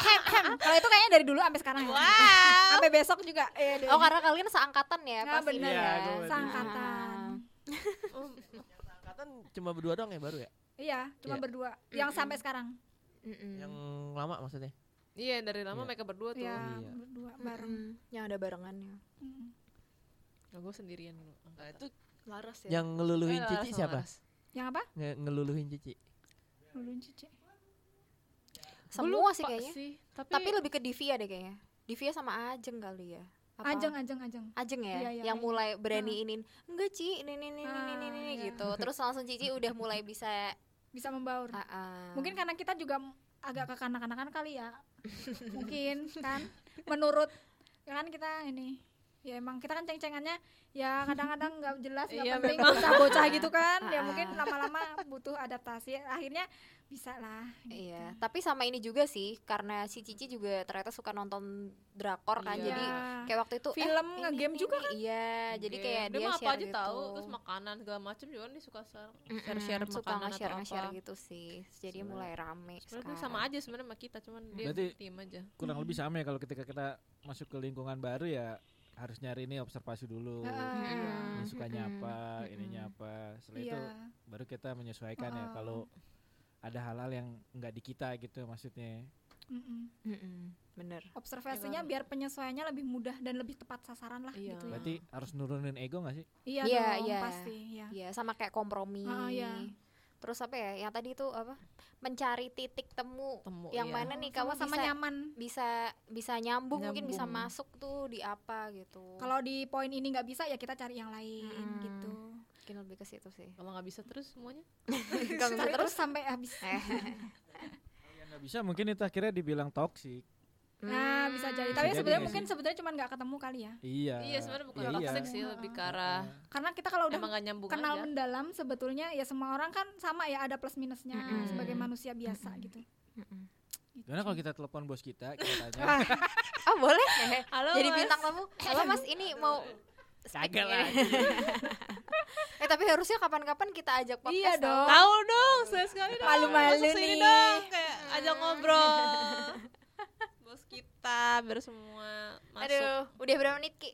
Speaker 4: Hem, hem. Kalau itu kayaknya dari dulu sampai sekarang. ya. Sampai besok juga. Eh, dari-
Speaker 2: oh karena kalian seangkatan ya
Speaker 4: Nah,
Speaker 2: pasti Ah.
Speaker 4: bener
Speaker 2: ya
Speaker 5: Iya, gua berarti.
Speaker 4: seangkatan.
Speaker 1: Oh,
Speaker 3: angkatan cuma berdua doang ya baru ya
Speaker 4: Iya,
Speaker 3: Iya.
Speaker 4: cuma berdua. Yang
Speaker 2: Mm-mm.
Speaker 4: sampai sekarang.
Speaker 2: Mm-mm.
Speaker 3: yang lama maksudnya
Speaker 1: iya dari lama
Speaker 3: Iya.
Speaker 1: mereka berdua tuh
Speaker 4: Iya,
Speaker 3: Iya.
Speaker 4: berdua
Speaker 2: Mm-mm.
Speaker 4: bareng.
Speaker 2: yang ada barengannya
Speaker 4: Mm.
Speaker 1: Nah, gue sendirian dulu
Speaker 3: nah, itu
Speaker 1: laras
Speaker 3: yang ngeluluhin
Speaker 1: Eh,
Speaker 3: cici
Speaker 1: Laras,
Speaker 3: siapa
Speaker 1: Laras.
Speaker 4: Yang apa?
Speaker 3: Nge- ngeluluhin cici
Speaker 4: Lulun cici.
Speaker 1: Gua
Speaker 2: semua
Speaker 1: lupa
Speaker 2: sih kayaknya
Speaker 1: tapi,
Speaker 2: tapi lebih ke Divya deh kayaknya Divya sama Ajeng kali ya Apa?
Speaker 4: Ajeng, ajeng, ajeng.
Speaker 2: Ajeng ya,
Speaker 4: Iya, iya,
Speaker 2: yang
Speaker 4: iya.
Speaker 2: mulai berani inin enggak Ci, ini ini ini ini ini, ini,"
Speaker 4: Ah, iya.
Speaker 2: gitu. Terus langsung Cici udah mulai bisa
Speaker 4: Bisa membaur.
Speaker 2: ah, ah.
Speaker 4: Mungkin karena kita juga m- agak kekanak-kanakan kali ya. Mungkin kan menurut kan kita ini ya emang kita kan ceng-cengannya ya kadang-kadang nggak jelas nggak
Speaker 1: Iya,
Speaker 4: penting
Speaker 1: memang.
Speaker 4: bocah-bocah gitu kan
Speaker 2: Ah,
Speaker 4: ya
Speaker 2: ah.
Speaker 4: mungkin lama-lama butuh adaptasi akhirnya bisa lah gitu.
Speaker 2: Iya, tapi sama ini juga sih karena si Cici juga ternyata suka nonton drakor kan.
Speaker 1: Iya.
Speaker 2: Jadi
Speaker 4: Ya,
Speaker 2: kayak waktu itu eh,
Speaker 4: Film,
Speaker 2: ini,
Speaker 4: ngegame
Speaker 2: ini,
Speaker 4: juga
Speaker 2: ini. Iya, jadi
Speaker 1: Game.
Speaker 2: kayak dia,
Speaker 1: mah apa
Speaker 2: share
Speaker 1: aja
Speaker 2: gitu.
Speaker 1: tahu terus makanan segala macam juga dia suka
Speaker 2: Mm-mm,
Speaker 1: share share
Speaker 2: suka
Speaker 1: makanan
Speaker 2: nge-share
Speaker 1: atau
Speaker 2: nge-share
Speaker 1: apa
Speaker 2: gitu sih. Jadi
Speaker 5: Sebenarnya-
Speaker 2: mulai rame.
Speaker 1: sebenarnya dia sama aja sebenarnya sama kita cuman dia
Speaker 5: Berarti-
Speaker 1: diem aja
Speaker 5: kurang lebih sama ya kalau ketika kita masuk ke lingkungan baru ya harus nyari ini observasi dulu
Speaker 4: Heeh.
Speaker 5: Ini
Speaker 2: Mm-mm,
Speaker 5: Iya. sukanya
Speaker 2: mm-mm,
Speaker 5: apa
Speaker 2: mm-mm.
Speaker 5: ininya apa setelah
Speaker 4: iya
Speaker 2: gitu.
Speaker 5: itu baru kita menyesuaikan ya
Speaker 4: Heeh.
Speaker 5: kalau ada hal-hal yang nggak di kita gitu maksudnya
Speaker 4: Mm-mm.
Speaker 2: Mm-mm, Bener.
Speaker 4: observasinya biar penyesuaiannya lebih mudah dan lebih tepat sasaran lah
Speaker 1: Iya.
Speaker 4: gitu ya.
Speaker 5: berarti harus nurunin ego nggak sih
Speaker 4: Iya,
Speaker 2: Iya,
Speaker 4: dong,
Speaker 2: iya.
Speaker 4: pasti ya.
Speaker 2: Iya, sama kayak kompromi.
Speaker 4: Ah, iya.
Speaker 2: Terus apa ya? Yang tadi itu apa? Mencari titik temu.
Speaker 1: temu iya.
Speaker 2: yang mana nih kamu
Speaker 4: sama
Speaker 2: bisa
Speaker 4: nyaman.
Speaker 2: bisa bisa nyambung, mungkin bisa
Speaker 1: Nyambung.
Speaker 2: masuk tuh di apa gitu.
Speaker 4: Kalau di poin ini nggak bisa ya kita cari yang lain
Speaker 2: Mm.
Speaker 4: gitu.
Speaker 2: mungkin lebih ke situ
Speaker 4: <laughs>
Speaker 2: sih.
Speaker 1: kalau nggak bisa terus semuanya
Speaker 2: Kalau Eh.
Speaker 4: Cari terus
Speaker 2: <laughs>
Speaker 4: sampai habis.
Speaker 5: Kalau yang nggak bisa mungkin itu akhirnya dibilang toksik
Speaker 2: Mm.
Speaker 4: Nah, bisa jadi.
Speaker 2: Hmm.
Speaker 4: Tapi
Speaker 5: jadi
Speaker 4: sebenarnya
Speaker 5: nggak
Speaker 4: mungkin
Speaker 5: sih?
Speaker 4: sebenarnya cuma nggak ketemu kali ya.
Speaker 5: iya
Speaker 1: iya sebenarnya bukan
Speaker 5: Iya, iya.
Speaker 1: toxic sih lebih ke arah
Speaker 4: Karena kita kalau udah
Speaker 1: emang nggak nyambung
Speaker 4: kenal
Speaker 1: aja
Speaker 4: mendalam sebetulnya ya semua orang kan sama ya ada plus minusnya
Speaker 2: Mm-mm.
Speaker 4: sebagai manusia biasa gitu. Gitu.
Speaker 5: Gimana kalau kita telepon bos kita kita
Speaker 4: Ah,
Speaker 5: tanya
Speaker 2: Ah,
Speaker 4: <laughs>
Speaker 2: boleh.
Speaker 1: halo
Speaker 2: Jadi
Speaker 1: Mas.
Speaker 2: bintang tamu. Halo Mas, ini mau speak
Speaker 5: Kagak
Speaker 2: nih. eh tapi harusnya kapan-kapan kita ajak podcast.
Speaker 4: Iya
Speaker 2: tau.
Speaker 4: dong.
Speaker 1: tahu dong saya sekali dong
Speaker 4: Malu-malu
Speaker 1: Masuk sini
Speaker 4: nih.
Speaker 1: dong kayak ajak ngobrol
Speaker 4: <laughs>
Speaker 1: bos kita biar semua masuk
Speaker 2: Aduh, udah berapa menit Ki?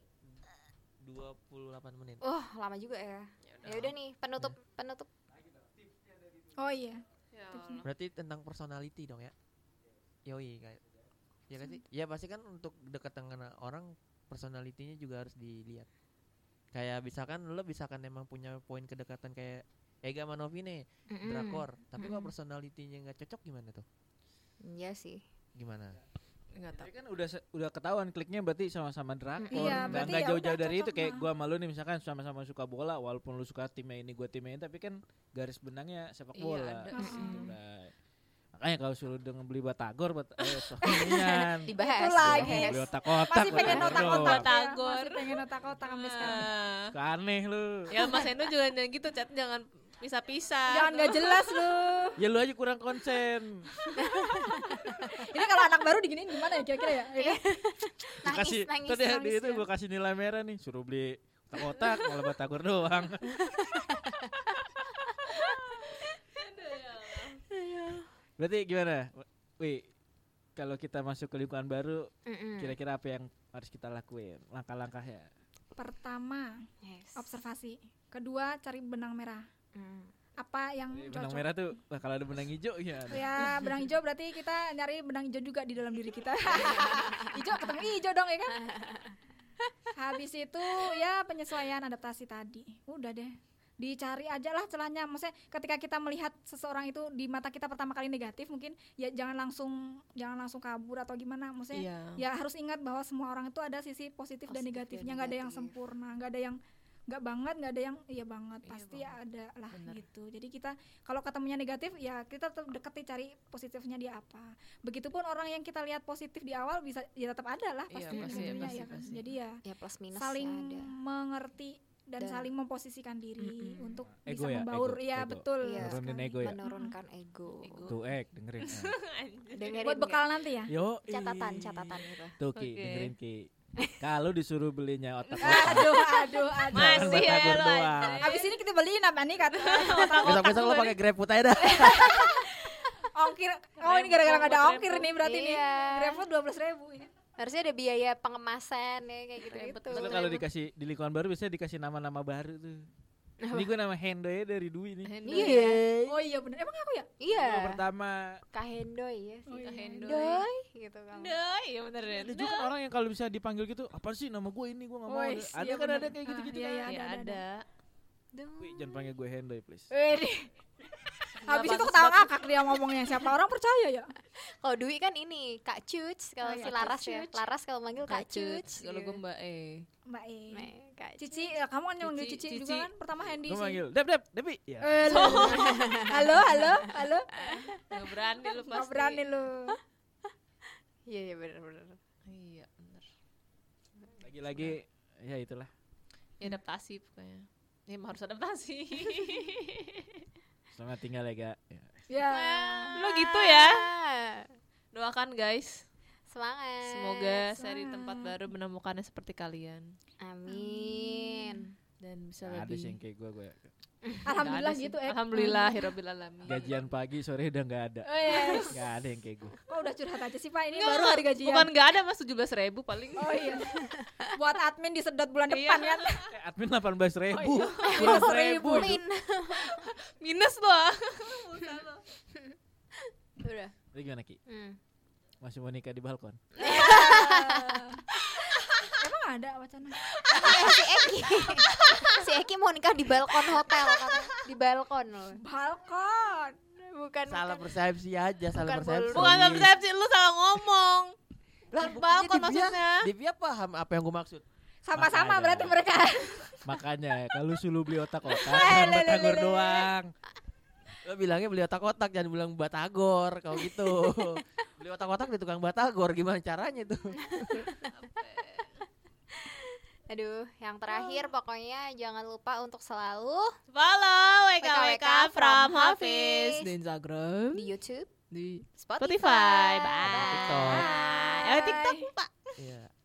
Speaker 3: 28 menit
Speaker 2: Wah, lama juga ya. Ya udah nih, penutup penutup.
Speaker 4: Oh iya.
Speaker 1: Ya
Speaker 4: tipsnya.
Speaker 1: Allah.
Speaker 3: Berarti tentang personality dong ya. Yoi kayak. Ya kan sih? Ya pasti kan untuk dekat dengan orang personalitinya juga harus dilihat. Kayak misalkan lo misalkan emang punya poin kedekatan kayak Ega Manovine,
Speaker 2: Hmm.
Speaker 3: drakor, tapi kok
Speaker 2: Mm-mm.
Speaker 3: personalitinya nggak cocok gimana tuh?
Speaker 2: Iya sih.
Speaker 3: Gimana?
Speaker 1: nggak tahu
Speaker 5: Tapi kan udah se- udah ketahuan kliknya berarti sama-sama drakor.
Speaker 2: Iya,
Speaker 5: Nggak-
Speaker 2: berarti
Speaker 5: nggak
Speaker 4: ya
Speaker 5: jauh-jauh
Speaker 4: udah
Speaker 5: dari itu
Speaker 4: cocok
Speaker 5: kayak
Speaker 4: mah.
Speaker 5: gua malu nih misalkan sama-sama suka bola walaupun lu suka timnya ini gua timnya ini tapi kan garis benangnya sepak
Speaker 1: Iya,
Speaker 5: bola.
Speaker 1: ada
Speaker 5: Gitu,
Speaker 4: sih.
Speaker 5: Bay. Makanya kalau suruh dengan beli batagor bat eh soalnya
Speaker 2: Dibahas.
Speaker 4: Itu lagi.
Speaker 2: dibahas.
Speaker 5: beli otak-otak.
Speaker 4: Masih pengen
Speaker 5: waduh.
Speaker 1: Iya,
Speaker 4: otak-otak. ya.
Speaker 1: Batagor.
Speaker 4: Masih pengen
Speaker 1: <laughs>
Speaker 4: otak-otak sampai sekarang.
Speaker 1: Ah.
Speaker 5: Suka Aneh lu.
Speaker 1: ya Mas Endo juga jangan gitu chat jangan pisah-pisah
Speaker 4: Jangan nggak jelas lu.
Speaker 5: Ya lu aja kurang konsen.
Speaker 4: Ini kalau anak baru diginiin gimana ya kira-kira ya? ya? kan?
Speaker 5: Gua
Speaker 2: Nangis,
Speaker 5: kasih
Speaker 2: nangis,
Speaker 5: tadi
Speaker 2: nangis,
Speaker 5: di itu
Speaker 2: ya.
Speaker 5: gua kasih nilai merah nih suruh beli otak-otak malah batagor doang.
Speaker 1: ya.
Speaker 5: Berarti gimana? Wi, kalau kita masuk ke lingkungan baru,
Speaker 2: Mm-mm.
Speaker 5: kira-kira apa yang harus kita lakuin? Langkah-langkah ya.
Speaker 4: Pertama,
Speaker 2: Yes.
Speaker 4: observasi. Kedua, cari benang merah.
Speaker 2: Mm.
Speaker 4: Apa yang
Speaker 5: Jadi
Speaker 4: cocok?
Speaker 5: Benang merah tuh, wah, kalau ada benang hijau ya.
Speaker 4: Ya, benang hijau berarti kita nyari benang hijau juga di dalam diri kita. hijau ketemu hijau dong ya kan? Habis itu ya penyesuaian adaptasi tadi. Udah deh. Dicari aja lah celahnya. Maksudnya ketika kita melihat seseorang itu di mata kita pertama kali negatif mungkin ya jangan langsung jangan langsung kabur atau gimana. Maksudnya
Speaker 1: Iya.
Speaker 4: ya harus ingat bahwa semua orang itu ada sisi positif, dan
Speaker 1: ya,
Speaker 2: Positif dan
Speaker 4: negatifnya nggak ada yang
Speaker 2: negatif.
Speaker 4: sempurna nggak ada yang nggak banget nggak ada yang iya banget
Speaker 1: Iya
Speaker 4: pasti
Speaker 1: banget.
Speaker 4: ada lah
Speaker 1: Bener.
Speaker 4: gitu jadi kita kalau ketemunya negatif ya kita tetap deketi cari positifnya dia apa begitupun orang yang kita lihat positif di awal bisa ya tetap ada lah
Speaker 1: Iya,
Speaker 4: pasti
Speaker 1: pasti,
Speaker 4: ujung-ujungnya,
Speaker 1: pasti,
Speaker 4: ya kan?
Speaker 1: pasti.
Speaker 4: jadi ya
Speaker 2: Ya plus minus
Speaker 4: saling
Speaker 2: ya ada.
Speaker 4: mengerti dan,
Speaker 2: Dan-
Speaker 4: saling memposisikan diri
Speaker 2: Mm-mm.
Speaker 4: untuk
Speaker 5: Ego
Speaker 4: bisa
Speaker 5: ya,
Speaker 4: membaur
Speaker 5: ego,
Speaker 4: ya
Speaker 5: ego.
Speaker 4: betul
Speaker 2: Iya.
Speaker 5: Nurunin
Speaker 4: sekali.
Speaker 5: ego ya.
Speaker 2: Menurunkan ego.
Speaker 1: Ego.
Speaker 5: Tuh ek dengerin.
Speaker 2: Dengerin
Speaker 4: buat bekal nanti
Speaker 2: <laughs>
Speaker 4: ya
Speaker 5: Yo.
Speaker 2: nggak? catatan catatan itu.
Speaker 5: Tuh Ki,
Speaker 1: Oke.
Speaker 5: dengerin Ki. Kalau disuruh belinya otak
Speaker 4: aduh aduh aduh
Speaker 1: Masih
Speaker 5: Jangan buat
Speaker 1: ya
Speaker 5: tabur
Speaker 1: lo,
Speaker 5: doang.
Speaker 1: anjay.
Speaker 4: Abis ini kita beliin apa nih kata
Speaker 3: besok besok lo
Speaker 1: gue
Speaker 3: pakai grab food aja dah
Speaker 4: ongkir. Oh ini gara-gara nggak ada
Speaker 1: Repot,
Speaker 4: ongkir
Speaker 1: repot.
Speaker 4: nih berarti nih.
Speaker 2: Iya.
Speaker 4: Grabfood dua belas ribu.
Speaker 2: Harusnya ada biaya pengemasan ya kayak gitu
Speaker 1: Ribet
Speaker 2: gitu.
Speaker 5: Terus kalau dikasih di lingkungan baru biasanya dikasih nama-nama baru tuh. Ini gue nama Hendoy dari Dwi nih.
Speaker 1: Iya.
Speaker 2: Iya.
Speaker 4: Oh iya bener. Emang aku ya?
Speaker 2: Iya.
Speaker 5: Gua pertama
Speaker 2: Kahendoy ya sih.
Speaker 1: Oh iya, Hendoy.
Speaker 2: Hendoy gitu kan.
Speaker 1: Doi, ya bener ya.
Speaker 5: ada juga kan orang yang kalau bisa dipanggil gitu, apa sih nama gue ini gue nggak mau.
Speaker 4: Woy,
Speaker 5: Ada, ada
Speaker 4: iya
Speaker 5: kan
Speaker 4: bener.
Speaker 5: ada kayak gitu-gitu.
Speaker 4: Ah, iya,
Speaker 1: Ya,
Speaker 4: iya, ada, ada,
Speaker 1: ada.
Speaker 5: Wi, jangan panggil gue Hendoy please.
Speaker 2: Wedi.
Speaker 4: Habis itu
Speaker 1: bagus,
Speaker 4: ketawa
Speaker 1: bagus.
Speaker 4: ngakak dia ngomongnya. Siapa orang percaya ya?
Speaker 2: Kalau Dwi kan ini Kak Cuc kalau
Speaker 4: Oh iya,
Speaker 2: si
Speaker 4: Kak
Speaker 2: Laras ya.
Speaker 4: Cuc.
Speaker 2: Laras kalau manggil Kak Cuc.
Speaker 1: Kalau gue
Speaker 2: gitu.
Speaker 1: Mbak E.
Speaker 4: Mbak E.
Speaker 2: Nah, Kak Cuc.
Speaker 4: Cici, ya, kamu kan yang manggil
Speaker 1: Cici,
Speaker 4: Cici,
Speaker 1: Cici. Oh.
Speaker 4: juga kan? Pertama Hendy
Speaker 5: Gue
Speaker 4: sih.
Speaker 5: manggil Dep Dep Depi. Ya.
Speaker 4: Eh, lu. halo, halo, halo.
Speaker 1: Gak berani lu pasti.
Speaker 4: Gak berani lu.
Speaker 2: Iya iya benar benar.
Speaker 1: Iya, bener.
Speaker 5: Lagi-lagi ya itulah.
Speaker 1: Ya adaptasi pokoknya. Ya emang harus
Speaker 4: <laughs>
Speaker 1: adaptasi.
Speaker 5: Selamat tinggal ya, Ga. Ya.
Speaker 4: Ya.
Speaker 1: Lu gitu ya.
Speaker 2: Ah,
Speaker 1: Doakan guys.
Speaker 2: Semangat.
Speaker 1: Semoga seri
Speaker 4: semangat.
Speaker 1: tempat baru menemukannya seperti kalian
Speaker 2: Amin.
Speaker 1: dan bisa
Speaker 5: Nggak Ada
Speaker 1: lebih.
Speaker 5: sih yang kayak gue gue.
Speaker 4: Alhamdulillah
Speaker 1: Nggak ada sih.
Speaker 4: gitu, eh.
Speaker 1: Alhamdulillah hirabbil alamin.
Speaker 5: Gajian pagi sore udah nggak ada.
Speaker 4: Oh iya.
Speaker 5: Nggak ada yang kayak gue.
Speaker 4: Kok udah curhat aja sih, Pak? Ini
Speaker 1: Nggak,
Speaker 4: baru hari gajian.
Speaker 1: Bukan nggak ada mas 17.000 ribu paling.
Speaker 4: Oh
Speaker 1: <laughs>
Speaker 4: iya. Buat admin disedot bulan
Speaker 1: Iya.
Speaker 4: depan kan.
Speaker 5: Eh, admin 18 ribu.
Speaker 4: Oh, iya. <laughs> Kurang seribu.
Speaker 2: Min.
Speaker 1: Minus loh. ah. Pulsa lo.
Speaker 2: Udah.
Speaker 5: Jadi gimana Ki?
Speaker 2: Hmm.
Speaker 5: Masih mau nikah di balkon?
Speaker 4: <laughs> Emang ada wacana?
Speaker 2: si Eki si Eki mau nikah di balkon hotel katanya. di balkon loh
Speaker 4: Balkon.
Speaker 2: bukan
Speaker 3: salah persepsi aja salah
Speaker 2: Bukan
Speaker 3: persepsi
Speaker 2: bulu.
Speaker 1: Bukan persepsi lu salah ngomong.
Speaker 3: Lah,
Speaker 1: balkon
Speaker 3: buktinya Divya-
Speaker 1: maksudnya.
Speaker 3: Divya paham apa yang gue maksud
Speaker 4: Sama-sama
Speaker 5: Makanya.
Speaker 4: berarti mereka.
Speaker 5: Makanya ya, kalau sulu beli otak-otak <laughs>
Speaker 4: Hai,
Speaker 5: jangan
Speaker 4: Eh, lele,
Speaker 5: batagor
Speaker 4: lele.
Speaker 5: doang.
Speaker 3: lo bilangnya beli otak-otak jangan bilang batagor kalau gitu beli otak-otak di tukang batagor gimana caranya tuh
Speaker 2: aduh yang terakhir pokoknya jangan lupa untuk selalu
Speaker 1: Follow WKWK from
Speaker 2: from
Speaker 1: Hafiz
Speaker 2: Hafiz.
Speaker 1: di Instagram,
Speaker 2: di YouTube
Speaker 1: di
Speaker 2: Spotify,
Speaker 1: Spotify,
Speaker 2: Bye.
Speaker 1: bye.
Speaker 3: TikTok.
Speaker 1: Eh, TikTok, Pak.
Speaker 3: Iya.